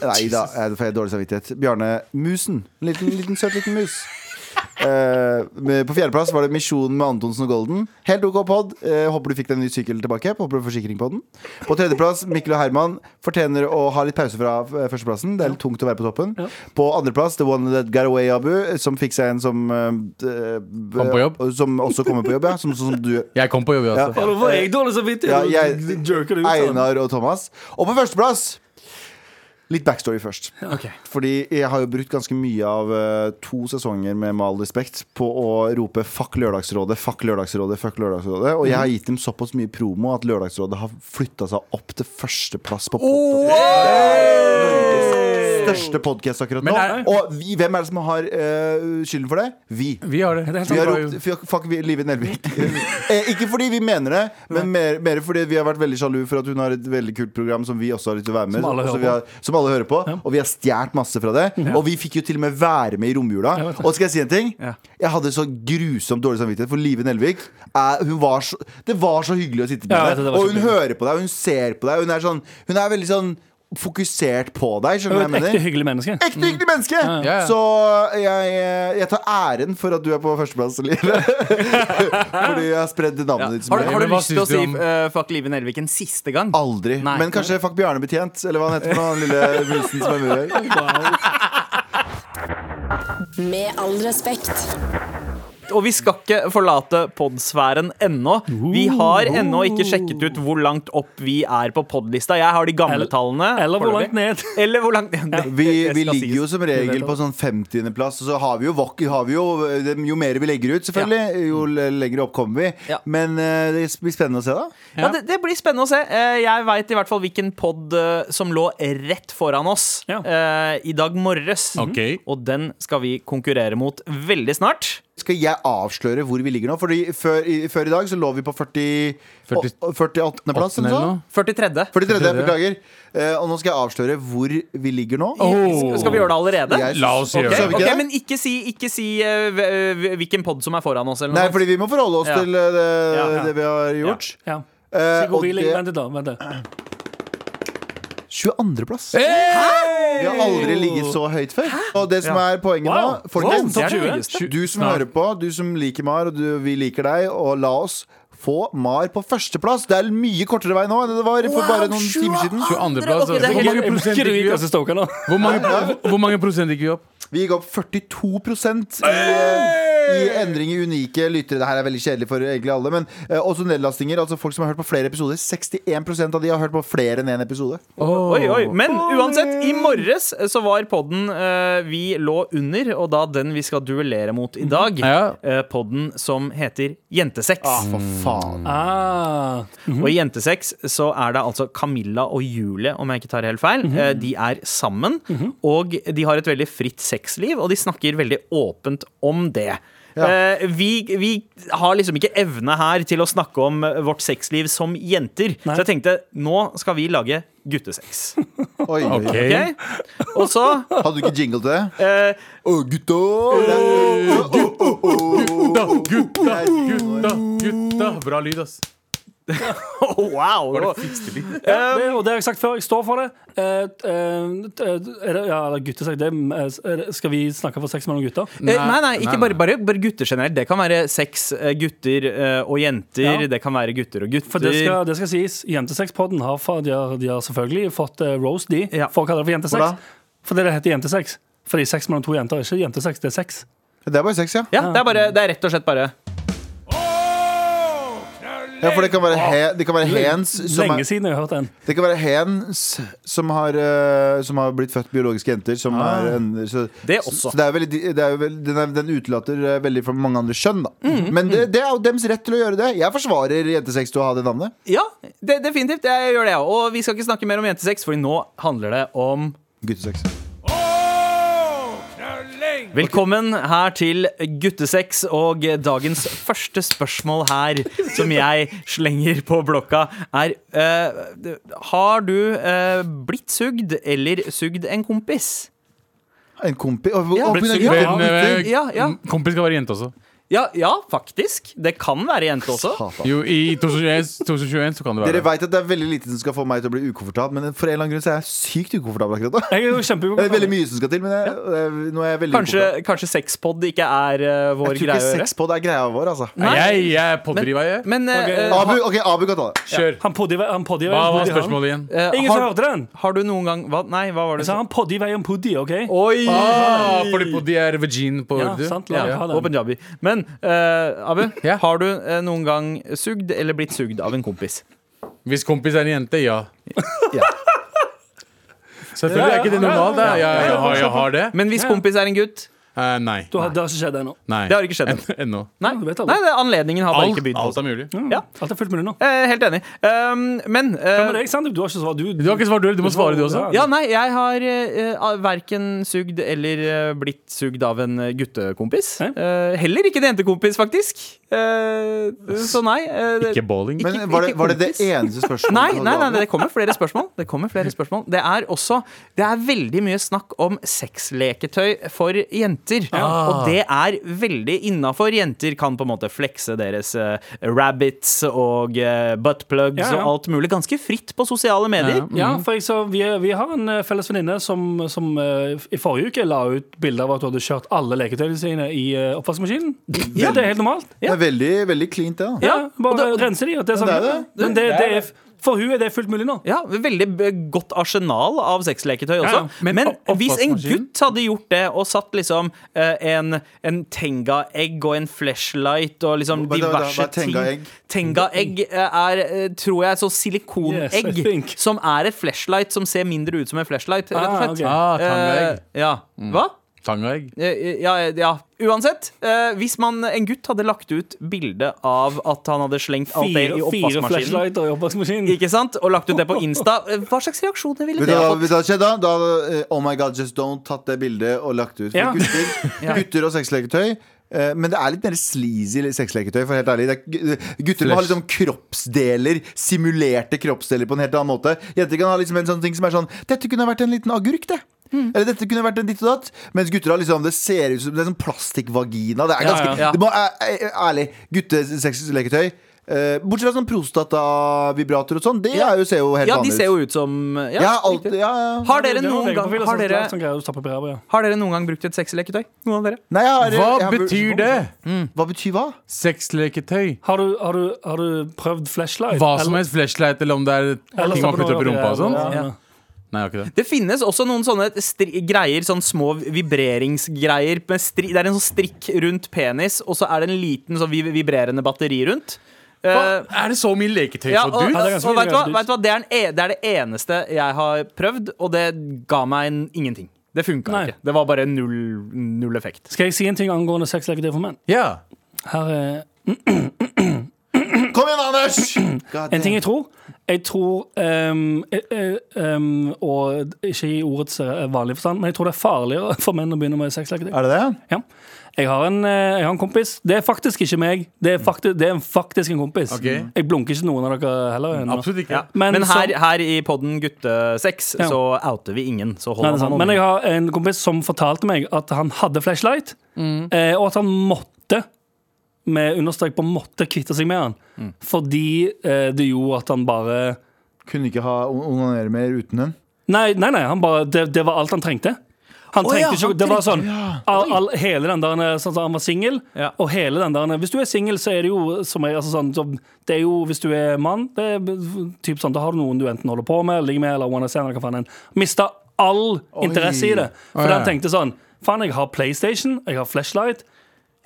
Nei da, eh, det får jeg dårlig samvittighet. Bjarne Musen. En liten, liten søt liten mus. Eh, med- på fjerdeplass var det Misjonen med Antonsen og Golden. Helt OK pod. Eh, håper du fikk deg en ny sykkel tilbake. Håper du får forsikring på den. På tredjeplass Mikkel og Herman fortjener å ha litt pause fra eh, førsteplassen. Det er litt tungt å være på toppen. På andreplass The One That Got Away Abu, eh, som fikk seg en som eh, eh,
Kom på jobb. Altså.
eh, Som også kommer på jobb, ja. Som, som du
Jeg kom på jobb, jeg også.
Ja, Nå får jeg dårlig
ja,
samvittighet.
jeg,
Du Jerker det ut. av dem.
Einar og Thomas. Og på førsteplass Litt backstory først.
sånn.
Fordi jeg har jo brukt ganske mye av eh, to sesonger med Mal respekt på å rope 'fuck Lørdagsrådet', 'fuck Lørdagsrådet', 'fuck Lørdagsrådet'. Og jeg har gitt dem såpass mye promo at Lørdagsrådet har flytta seg opp til førsteplass på podkast. Største podkast akkurat nå.
Men er-
Og vi, hvem er det som har eh, skylden for det? sånn Vi.
Vi har det.
Sånn
Vi har
Vi har
ropt
jo-
fuck- Fuck vi- Live Nelvik. eh, ikke fordi vi mener det, men mer, mer fordi vi har vært veldig sjalu for at hun har et veldig kult program som vi også har lyst til å være med
Som alle
og så
hører
vi har, som alle hører på. Og vi har stjålet masse fra det. Og vi fikk jo til og med være med i romjula. Og skal jeg si en ting? Jeg hadde så grusomt dårlig samvittighet, for Live Nelvik er, hun var så, Det var så hyggelig å sitte med
Ja, jeg vet det, det
deg.
var
Og
så
hun
hyggelig.
hører på deg, og hun ser på deg. Hun er, sånn, hun er veldig sånn fokusert på deg.
Du er
Skjønner du
et
hva jeg
ekte
mener?
hyggelig menneske.
Ekte hyggelig menneske!
Ja, ja.
Så jeg, jeg tar æren for at du er på førsteplass, Live. Fordi jeg har spredd
Ja.
navnet ditt så
Har, du-
mye.
har du
Men hva
lyst til å
syns du
si
om-
eh, fuck Live Nelvik en siste gang?
Aldri.
Nei.
Men kanskje fuck Bjarne Betjent, eller hva han heter for noe, den lille musen som er med her.
Med all respekt.
Og vi skal ikke forlate podsfæren ennå. Vi har ennå ikke sjekket ut hvor langt opp vi er på podlista. Jeg har de gamle
Eller-
tallene.
Eller hvor langt
foreløpig.
ned.
Eller hvor langt ned.
Vi,
Det
vi
skal
ligger jo
sies.
som regel på sånn 50.-plass, og så har vi jo, vok- har vi jo Jo mer vi legger ut, selvfølgelig, jo le- lenger opp kommer vi.
Ja.
Men eh, det blir spennende å se, da.
Ja, det, det blir spennende å se. Eh, Jeg veit i hvert fall hvilken pod eh, som lå rett foran oss
Ja.
eh, i dag morges.
Mhm. Ok.
Og den skal vi konkurrere mot veldig snart.
Skal jeg avsløre hvor vi ligger nå? Fordi før i, før i dag så lå vi på 40,
40
å- 48.-plass, eller noe sånt.
43.
43. Beklager. Eh, og nå skal jeg avsløre hvor vi ligger nå.
Skal- Skal vi gjøre det allerede?
Jeg-
La oss
Ok,
gjøre det.
skal vi
Ok,
ikke det?
men ikke si, ikke si eh, hv- eh, hvilken pod som er foran oss. Eller
Nei,
noe.
fordi vi må forholde oss
Ja.
til eh, det,
Ja.
det vi har gjort.
Ja.
Eh,
Så hvor
og
vi ligger- Vent
det
litt, da. Vent litt.
22. plass. Vi har aldri ligget så høyt før. Og det som er poenget
Wow.
nå, folkens
Wow, det er det høyeste.
Du som hører på, du som liker Mar, og du, vi liker deg, og la oss få Mar på førsteplass. Det er mye kortere vei nå enn det var for bare noen timer siden.
22. plass.
Ok, det er
Hvor mange prosent
Jeg merker du
gikk vi
gikk
opp?
altså stoka nå.
Hvor mange, hvor mange prosent gikk vi opp?
Vi gikk opp 42 i, eh, i endring i unike lyttere. Det her er veldig kjedelig for egentlig alle, men eh, også nedlastinger. Altså folk som har hørt på flere episoder. 61 av de har hørt på flere enn én episode.
Oi, oi. Men uansett, i morges så var podden eh, vi lå under, og da den vi skal duellere mot i dag,
Ja.
eh, podden som heter Jentesex.
For faen.
Ah,
Og i Jentesex så er det altså Camilla og Julie, om jeg ikke tar helt feil. Eh, De er sammen, og de har et veldig fritt sexliv, og de snakker veldig åpent om det. Eh, Vi, vi har liksom ikke evne her til å snakke om eh, vårt sexliv som jenter.
Nei.
Så jeg tenkte, nå skal vi lage guttesex.
Oi.
Ok.
Ok? Og så
Hadde du ikke jingle til det?
eh,
Å, gutta! Det er-
Gutta, gutta, gutta, gutta. Bra lyd, ass.
Oh, wow!
det, og det har jeg sagt før, jeg står for det. Eh, eh, eh, er det ja, eller gutter sagt det, eh, er det. Skal vi snakke for sex mellom gutter?
Eh, Nei, nei, ikke bare, bare, bare gutter generelt. Det kan være sex, eh, gutter eh, og jenter.
Ja.
Det kan være gutter og gutter.
For det skal, det skal sies, Jentesexpodden har, fa- de har, de har selvfølgelig fått eh, roast, de,
Ja.
for å kalle det for
Hvor da?
jentesex. Fordi det heter jentesex. Fordi sex mellom to jenter er ikke jentesex, det er sex.
Det er bare sex, ja.
Ja, det er, bare, det er rett og slett bare
ja for det kan være, he, det kan være hens som
Lenge
er,
siden jeg har hørt den.
Det kan være hens som har, eh, som har blitt født biologiske jenter. Som er en, så,
Ah. Det også.
Så det er veldig, det er jo veldig, den, er, den utelater eh, veldig fra mange andre kjønn. Da.
Mhm,
Men det, det er jo dems rett til å gjøre det. Jeg forsvarer jentesex til å ha det navnet.
Ja, det, definitivt. Jeg gjør det, jeg òg. Og vi skal ikke snakke mer om jentesex, Fordi nå handler det om
Guttesex.
Velkommen her til Guttesex og dagens første spørsmål her, som jeg slenger på blokka, er eh, Har du eh, blitt sugd eller sugd en kompis?
En kompis Å, å,
Ja,
å,
blitt
begynner-
syk.
ja,
Men,
gutter.
eh,
Ja, ja.
Kompis skal være jente også.
Ja, ja, faktisk. Det kan være jente også.
Satan.
Jo, I 2021, 2021 så kan det
Dere
være det.
vet at det er veldig lite som skal få meg til å bli ukomfortabel, men for en eller annen grunn så er jeg sykt ukomfortabel akkurat nå.
Jeg er jo kjempegod.
Det er veldig mye som skal til, men jeg, jeg- nå er jeg veldig
Kanskje,
ukomfortabel.
kanskje sexpod ikke er eh, vår greie
Jeg tror
å
ikke
gjøre?
sex på det er greia vår, altså.
Nei.
Jeg, jeg er pådriver, jeg.
Men eh,
Ok.
eh, ha-
Abu, ok, Abu kan ta det.
Kjør.
Han podde i vei- han podde i vei
Hva
om
var
poddi, han.
spørsmålet igjen?
eh,
Ingen som
har,
hørte den!
har du noen gang hva, Nei, hva var det?
Jeg sa han podde i vei om poddi, OK?
Oi!
Ah, fordi poddi er vagin på
Ja,
urdu.
sant, la meg ha
Og
den.
punjabi. Men eh, Abu,
Ja.
har du eh, noen gang sugd eller blitt sugd av en kompis?
Hvis kompis er en jente, ja.
Ja.
Selvfølgelig er ikke det normalt. da. Ja, jeg, har, jeg har det.
Men hvis
Ja.
kompis er en gutt?
Eh, nei.
Du har, det har ikke skjedd ennå.
nei.
Det har ikke skjedd ennå.
En- Ennå.
Nei,
Ja, du vet aldri. Mm.
nei det, anledningen har bare
Alt,
ikke bydd på
alt
seg.
er mulig.
Ja.
Alt er fullt mulig nå.
Eh, helt enig. Um, men
Hva med
eh,
deg, Sandeep? Du har ikke svart. Du,
Du har ikke svart, du. Du må svare, du også.
Ja.
ja, nei, jeg har uh, verken sugd eller eh, blitt sugd av en eh, guttekompis.
Hæ?
Eh, heller ikke en jentekompis, faktisk. Eh, så nei. eh, det-
Ikke bowling.
Men var det, var det det
kompis.
eneste spørsmålet?
Nei,
du
nei, nei,
hadde?
det kommer flere spørsmål. Det kommer flere spørsmål Det er også Det er veldig mye snakk om sexleketøy for jenter. Og det er veldig innafor. Jenter kan på en måte flekse deres eh, rabbits og eh, buttplugs
Ja, ja.
og alt mulig ganske fritt på sosiale medier.
Ja, for jeg så, vi, vi har en eh, felles venninne som, som eh, i forrige uke la ut bilde av at hun hadde kjørt alle leketøyene sine i eh, oppvaskmaskinen. Ja. Det er helt normalt.
Det er veldig, veldig cleant, det. da.
Ja,
Ja, og
Bare
det-
rense de. Og det er sånn,
Det er det.
Men det, det er, for hun er det fullt mulig nå.
Ja, Veldig b- godt arsenal av sexleketøy også.
Ja, ja.
Men,
Men opp-
hvis en
oppvaskmaskin?
gutt hadde gjort det og satt liksom eh, en, en Tenga-egg og en flashlight og liksom
Hva- hva- hva-
diverse
hva er Tenga-egg?
ting Tenga-egg eh, er, eh, tror jeg, så silikonegg
Yes, I think.
som er et flashlight som ser mindre ut som en flashlight, rett og
Ah, Mm.
slett.
ok.
Ah, tangaegg.
Eh, ja. Hva?
Tangaegg.
Eh, Ja, ja. Uansett, eh, hvis man, en gutt hadde lagt ut bilde av at han hadde slengt alt det i
Fire, fire
oppvaskmaskinen
flashlighter i oppvaskmaskinen.
ikke sant? Og lagt ut det på Insta. Hva slags reaksjoner ville
Vet
det
du hva
fått?
vet du hva skjedde da? Da hadde eh, Oh my God Just Don't tatt det bildet og lagt det ut. For
Ja.
gutter, gutter og sexleketøy. eh, Men det er litt mer sleazy sexleketøy. For helt ærlig det er, gu- Gutter må ha liksom kroppsdeler, simulerte kroppsdeler, på en helt annen måte. Jenter kan ha liksom en sånn ting som er sånn Dette kunne vært en liten agurk, det. Eller dette kunne vært en ditt og datt. Mens gutter har liksom det ser ut som det er sånn plastikkvagina. Det er
Ja,
ganske
ja.
Det må, æ- æ- ærlig, guttesexleketøy Eh, bortsett fra sånn prostatavibrator og sånn, det er jo, ser jo helt
ja, de
vanlig
ser jo ut som ja,
Ja, alt,
riktig.
ja, ja.
Har dere
Det var
noen gang
legeprofil, altså,
har dere,
sånn greier du stapper på ræva, ja.
har dere noen gang brukt et sexleketøy? Noen av dere?
Nei, jeg har,
Hva
jeg har-
betyr det?
Hva betyr hva?
Sexleketøy?
Har du, har, du, har du prøvd flashlight?
Hva som helst flashlight, eller om det er ting man putter opp i rumpa og sånn?
Ja, ja.
Nei, jeg har ikke det.
Det finnes også noen sånne stri greier, sånn små vibreringsgreier. Med stri det er en sånn strikk rundt penis, og så er det en liten sånn vi- vibrerende batteri rundt. Eh,
Hva? Er det så mye leketøy
ja,
for
og,
dudes?
Ja, det
og,
er ganske mye
vet du hva?
greier for
Vet du hva? Det, er en e det er det eneste jeg har prøvd, og det ga meg en, ingenting. Det funka
Nei.
ikke. Det var bare null, null effekt.
Skal jeg si en ting angående sexleketøy for menn?
Ja.
Her eh, er
Kom igjen, Anders! God
En ting
damn.
jeg tror Jeg tror ehm, eh, eh, ehm, Og ikke i ordets eh, vanlige forstand, men jeg tror det er farligere for menn å begynne med sexleketøy.
Er det det?
Ja. Jeg, har en, eh, jeg har en kompis. Det er faktisk ikke meg. Det er, fakti- det er en faktisk en kompis.
Ok.
Jeg blunker ikke noen av dere heller. eh, ennå.
Absolutt ikke.
Ja.
Men
Men, her,
så-
her i podden Guttesex
Ja.
så outer vi ingen. Så
Nei,
hold
det er sant. Men jeg har en kompis som fortalte meg at han hadde flashlight, eh, og at han måtte, med understrek på måtte, kvitte seg med han. Fordi eh, det gjorde at han bare
Kunne ikke ha on- onanere mer uten den.
Nei, nei, nei han bare, det, det var alt han trengte. Han trengte
ja,
ikke,
han
det var sånn
trengte-
all, all, Hele den der sånn, som Han var singel,
Ja.
og hele den der Hvis du er singel, så er det jo som er, altså, sånn, som- Det er jo, hvis du er mann, det er typ sånn, da har du noen du enten holder på med, ligger med, eller one night stand, eller hva faen enn. Mista all interesse i det. For
Å, ja.
han tenkte sånn Faen, jeg har PlayStation, jeg har flashlight.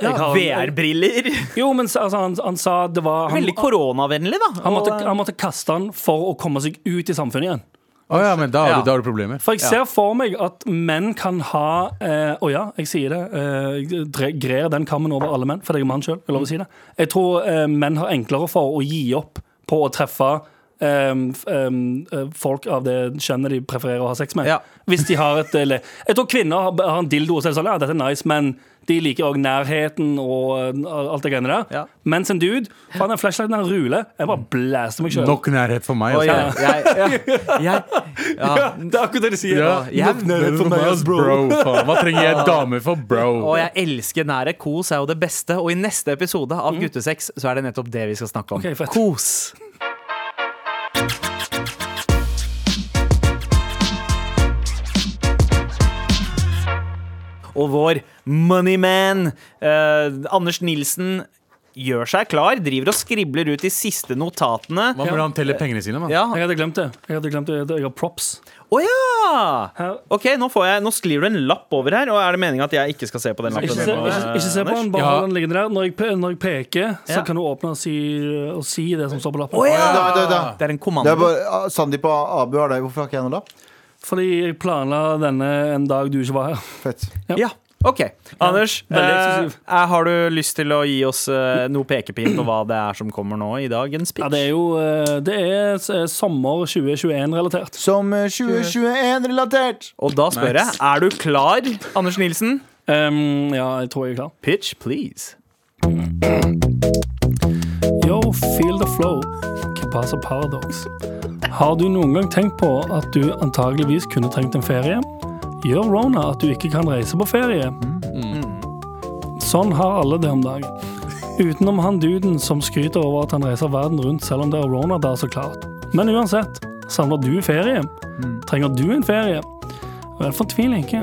jeg har-
VR-briller.
Jo, men så- altså, han, han sa det var han,
Veldig koronavennlig, da.
han, måtte,
Og,
han måtte kaste den for å komme seg ut i samfunnet igjen.
Å ja, men da har
Ja.
du, da har du problemer.
For jeg ser for meg at menn kan ha eh, Å ja, jeg sier det. Eh, jeg dre- grer den kammen over alle menn, for jeg er mann sjøl. Si det. jeg tror eh, menn har enklere for å gi opp på å treffe eh, f- eh, folk av det kjønnet de prefererer å ha sex med.
Ja.
Hvis de har et eller, Jeg tror kvinner har, har en dildo og så er det sånn, ja, dette er nice, men de liker òg nærheten og eh, alt det greiene der.
Ja.
Mens en dude, faen, den flashlighten han ruler, jeg bare blaster meg sjøl.
Nok nærhet for meg.
og
altså.
jeg, jeg, jeg, jeg, ja.
Det er akkurat det de sier.
Ja,
jeg-
nok nærhet for meg, ass, bro. faen. Hva trenger jeg dame for, bro?
Og jeg elsker nære. Kos er jo det beste. Og i neste episode av Guttesex så er det nettopp det vi skal snakke om.
Mm. Ok, fett.
Kos. Og vår moneyman, eh, Anders Nilsen, gjør seg klar. Driver og skribler ut de siste notatene.
Man burde han telle pengene sine, mann.
Ja.
Jeg hadde glemt det. Jeg hadde glemt det. Jeg har props.
Å ja!
Her.
OK, nå, får jeg, nå skriver du en lapp over her, og er det meninga at jeg ikke skal se på den
Ikke
lappen?
se, ikke, ikke se på den, bare
Ja.
hold den liggende der. Når jeg, pe- når jeg peker, så
Ja.
kan du åpne og si, og si det som står på lappen.
Å ja!
Da, da, da.
Det er en
Det
kommando.
er bare, ah, Sandeep og Abu har deg. Hvorfor har ikke jeg noe lapp?
Fordi jeg planla denne en dag du ikke var her.
Fett.
Ja, ok Anders,
veldig
eh,
eksklusiv.
eh, har du lyst til å gi oss eh, noe pekepinn på hva det er som kommer nå i dagens pitch?
Ja, det er jo eh, Det er s- eh, sommer 2021-relatert.
Som eh, 2021-relatert.
Og da spør jeg, er du klar, Anders Nilsen?
Um, ja, jeg tror jeg er klar.
Pitch, please
Yo, feel the flow. Que pasa paradox? Har du noen gang tenkt på at du antageligvis kunne trengt en ferie? Gjør Rona at du ikke kan reise på ferie? Sånn har alle det om dagen. Utenom han duden som skryter over at han reiser verden rundt selv om det er Rona der, så klart. Men uansett, savner du ferie? Trenger du en ferie? Vel, fortvil ikke.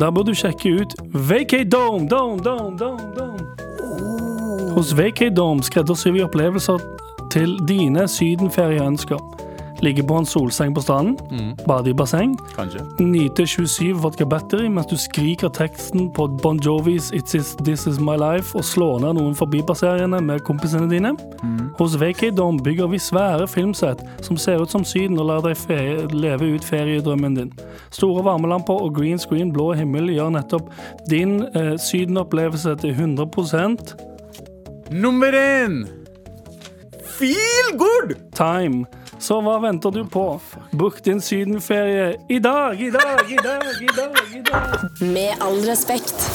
Der bør du sjekke ut Vacay Dome, Dome, Dome, Dome, Dome. Hos VK Dome skreddersyr vi opplevelser til dine sydenferieønsker. Ligge på en solseng på stranden, bade i basseng,
Kanskje.
nyte 27 vodka battery mens du skriker teksten på Bon Jovis It's Is, This Is My Life og slår ned noen forbipasserende med kompisene dine. Hos VK Dome bygger vi svære filmsett som ser ut som Syden og lar deg fe leve ut feriedrømmen din. Store varmelamper og green screen blå himmel gjør nettopp din eh, sydenopplevelse til 100
Nummer én!
Feel good!
Time. Så hva venter du på? Book din sydenferie i dag, i dag, i dag, i dag.
Eh.
i dag
Med all respekt.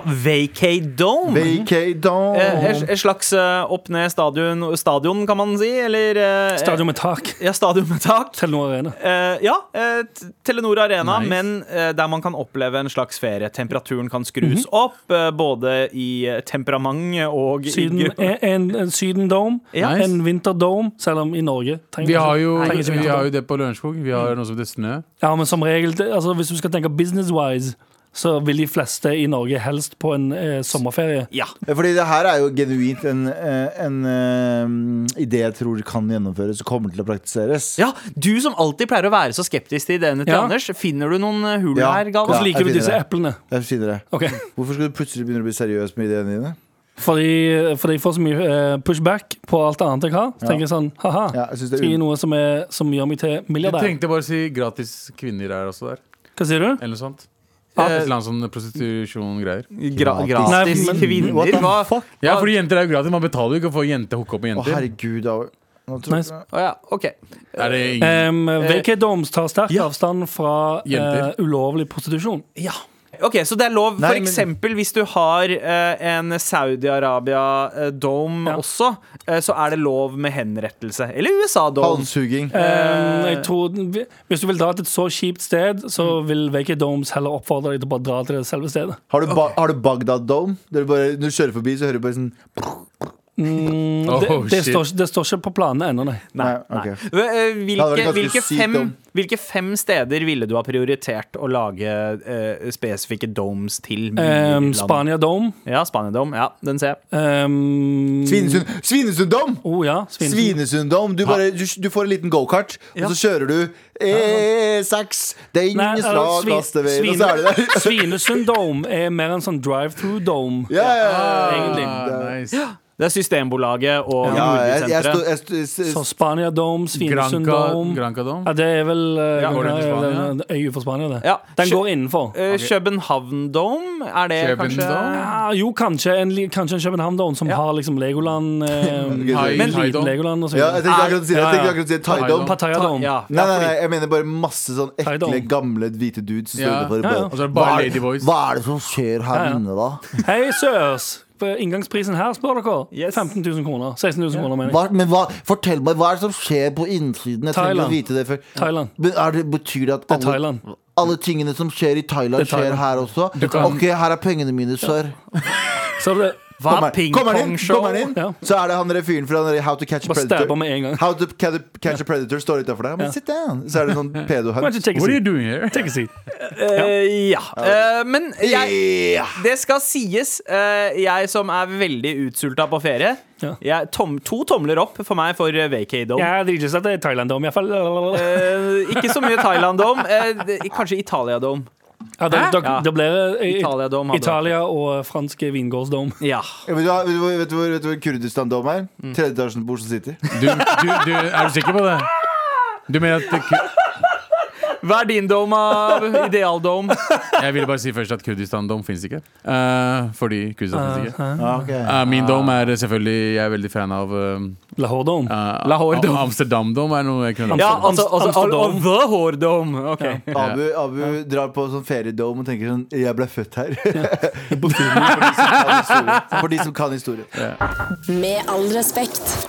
Vacay Dome. Eh,
Vacadon.
Et et slags eh, opp ned stadion, stadion, kan man si. Eller eh,
Stadion med tak.
Ja, stadion med tak.
Telenor Arena.
Eh, ja, eh, t- Telenor Arena,
Nice.
men eh, der man kan oppleve en slags ferie. Temperaturen kan
Mhm.
skrus opp, eh, både i eh, temperament og i
Syden, E.
gru-
en, en, en Sydendome.
Ja.
Nice.
En Vinterdome, selv om i Norge trenger
Vi
man
har jo,
ikke- trenger ikke
vi har jo
vinterdome.
det på Lørenskog. Vi har noe som heter Snø.
Ja, men som regel, det- altså, hvis du skal tenke business-wise, så vil de fleste i Norge helst på en eh, sommerferie.
Ja.
Eh, Fordi det her er jo genuint en, eh, en eh, idé jeg tror kan gjennomføres og kommer til å praktiseres.
ja. Du som alltid pleier å være så skeptisk til ideene til
Ja.
Anders, finner du noen eh, hull
Ja.
her,
Ja.
Galvan?
Hvordan liker du
jeg finner
disse
det.
eplene?
Jeg sier det.
Ok,
Hvorfor skal du plutselig begynne å bli seriøs med ideene dine?
fordi, fordi jeg får så mye eh, pushback på alt annet jeg har. Så tenker jeg sånn, haha,
Ja, jeg synes det er
si
un-
noe som, er, som gjør meg til
Du
milliardær.
trengte bare å si 'gratis kvinner' her også der.
Hva sier du?
Eller noe sånt.
Ja.
Et eller annet sånn prostitusjon-greier.
Gra gratis
Nei, men-
What
kvinner?
the
Hva?
Ja, fordi jenter er jo gratis. Man betaler jo ikke for å få jente hooke opp med
Å,
jenter.
herregud. da- Nå tror
Nice.
jeg-
Å ja, OK.
er det ingen...
Um, VK Doms tar sterk
ja.
avstand fra eh,
Jenter.
ulovlig prostitusjon.
Ja. Ok, Så det er lov
Nei,
for
men-
eksempel hvis du har eh, en Saudi-Arabia-dome
Ja.
også, eh, så er det lov med henrettelse. Eller USA-dome.
Halshuging.
Um, jeg tror, hvis du vil dra til et så kjipt sted, så vil VK Doms heller oppfordre deg til å bare dra til det selve stedet.
Har du, ba har du Bagdad Dome? Der du bare, når du kjører forbi, så hører du bare sånn
Mm, det,
Oh,
det,
shit.
står, ikke- det står ikke på planene ennå, nei.
Nei.
Nei,
nei.
ok.
Eh,
hadde vært
Hvilke,
ganske
hvilke,
sykt
fem,
om-
hvilke fem steder ville du ha prioritert å lage eh, spesifikke domes til? byer i
Um,
landet?
Spania Dome.
Ja, Spania-dome. Ja, den ser jeg.
Um,
Svinesund Svinesund Dome!
Oh, ja, Svinesund.
Svinesund Dome. Du, bare, du, du får en liten gokart,
Ja.
og så kjører du E6 Det er
Nei,
ingen
eller
slag
Svi-
lastebil, og
Svine-
så er det der.
Svinesund Dome er mer en sånn drive-through dome.
Ja, ja, ja.
Egentlig.
Ah, nice.
Det er Systembolaget og
Ja, jeg, jeg, sto-
Nordbysenteret.
jeg, sto- jeg,
Så Spania Dome, Svinesund
Granca,
Dome
Granca Dome.
Ja, det er vel eh,
Ja,
går den til Spania?
en- en øye for Spania, det.
Ja.
Den
Kjø-
går innenfor.
Eh, København-dome, er det
København?
kanskje
Ja, Ah, jo, kanskje en, li- kanskje en København-dome som har liksom Legoland. Eh,
Hai-
men
Hai
liten
Dome.
Legoland og så
ja, jeg
videre.
tenkte akkurat å si det. Jeg tenkte akkurat å si Thai Dome.
Pattaya-dome.
Ja,
Nei, nei, nei, jeg mener bare masse sånn
Thai
ekle,
Dome.
gamle hvite dudes som står
Ja.
Ja,
utenfor.
ja.
bare,
Og så er det bare
hva er-
Ladyboys.
Hva er det som skjer her
Ja, ja.
inne, da?
Hei, søs! Inngangsprisen her, spør dere.
Yes.
15 000 kroner. 16 000 kroner, mener jeg.
Hva, men hva, fortell meg, hva er det som skjer på innsiden? Jeg trenger
Thailand.
å vite det før.
Thailand.
Men er det, betyr det at
Det er
alle,
Thailand.
alle tingene som skjer i Thailand,
Det er Thailand.
skjer her også?
kan-
Ok, her er pengene mine, sir.
Så er det
Hva er
Kommer- Kommer han inn,
pingpongshow?
kommer han inn.
Ah, Ja.
så er det han der fyren fra den der How to Catch a
Bare stabber
Predator.
med en gang.
How to ca- Catch a Predator står utafor deg. Men sit down! Så er det sånn
Why
pedo-hug.
don't you take a
What are you
seat?
doing here?
Take a seat.
Eh, ja. Eh, men jeg, det skal sies, eh, jeg som er veldig utsulta på ferie
Ja.
jeg, tom, To tomler opp for meg for eh, Vacay-dome.
Ja, det er ikke sånn at det er Thailand-dome, iallfall. Ja,
Eh, ikke så mye Thailand-dome. Eh, det- kanskje Italia-dome.
det, det,
Ja.
det blir eh,
Italia-dome hadde vært-
Italia og fransk vingårdsdome.
Ja.
Ja, vet, du, hva- vet, du, hvor- vet, du, hvor- vet du hvor Kurdistan-dom er?
Mm.
Tredje etasjen på Oslo City.
Du, du, du, er du sikker på det? Du mener at ku-
Hva er din dome av ideal-dome?
Jeg ville bare si først at Kurdistan-dom fins ikke. Eh, fordi Kurdistan fins ikke.
Ah, ok.
Eh, min dom er selvfølgelig Jeg er veldig fan av eh,
Lahore-dome.
eh,
Lahore dom.
Amsterdam-dom. er noe jeg kunne
Ja, altså, altså
Amsterdam.
og- og The Whore-dome. Ok.
Abu, Abu drar på sånn feriedome og tenker sånn Jeg ble født her. For de som kan historien. For de som kan historien.
Med all respekt.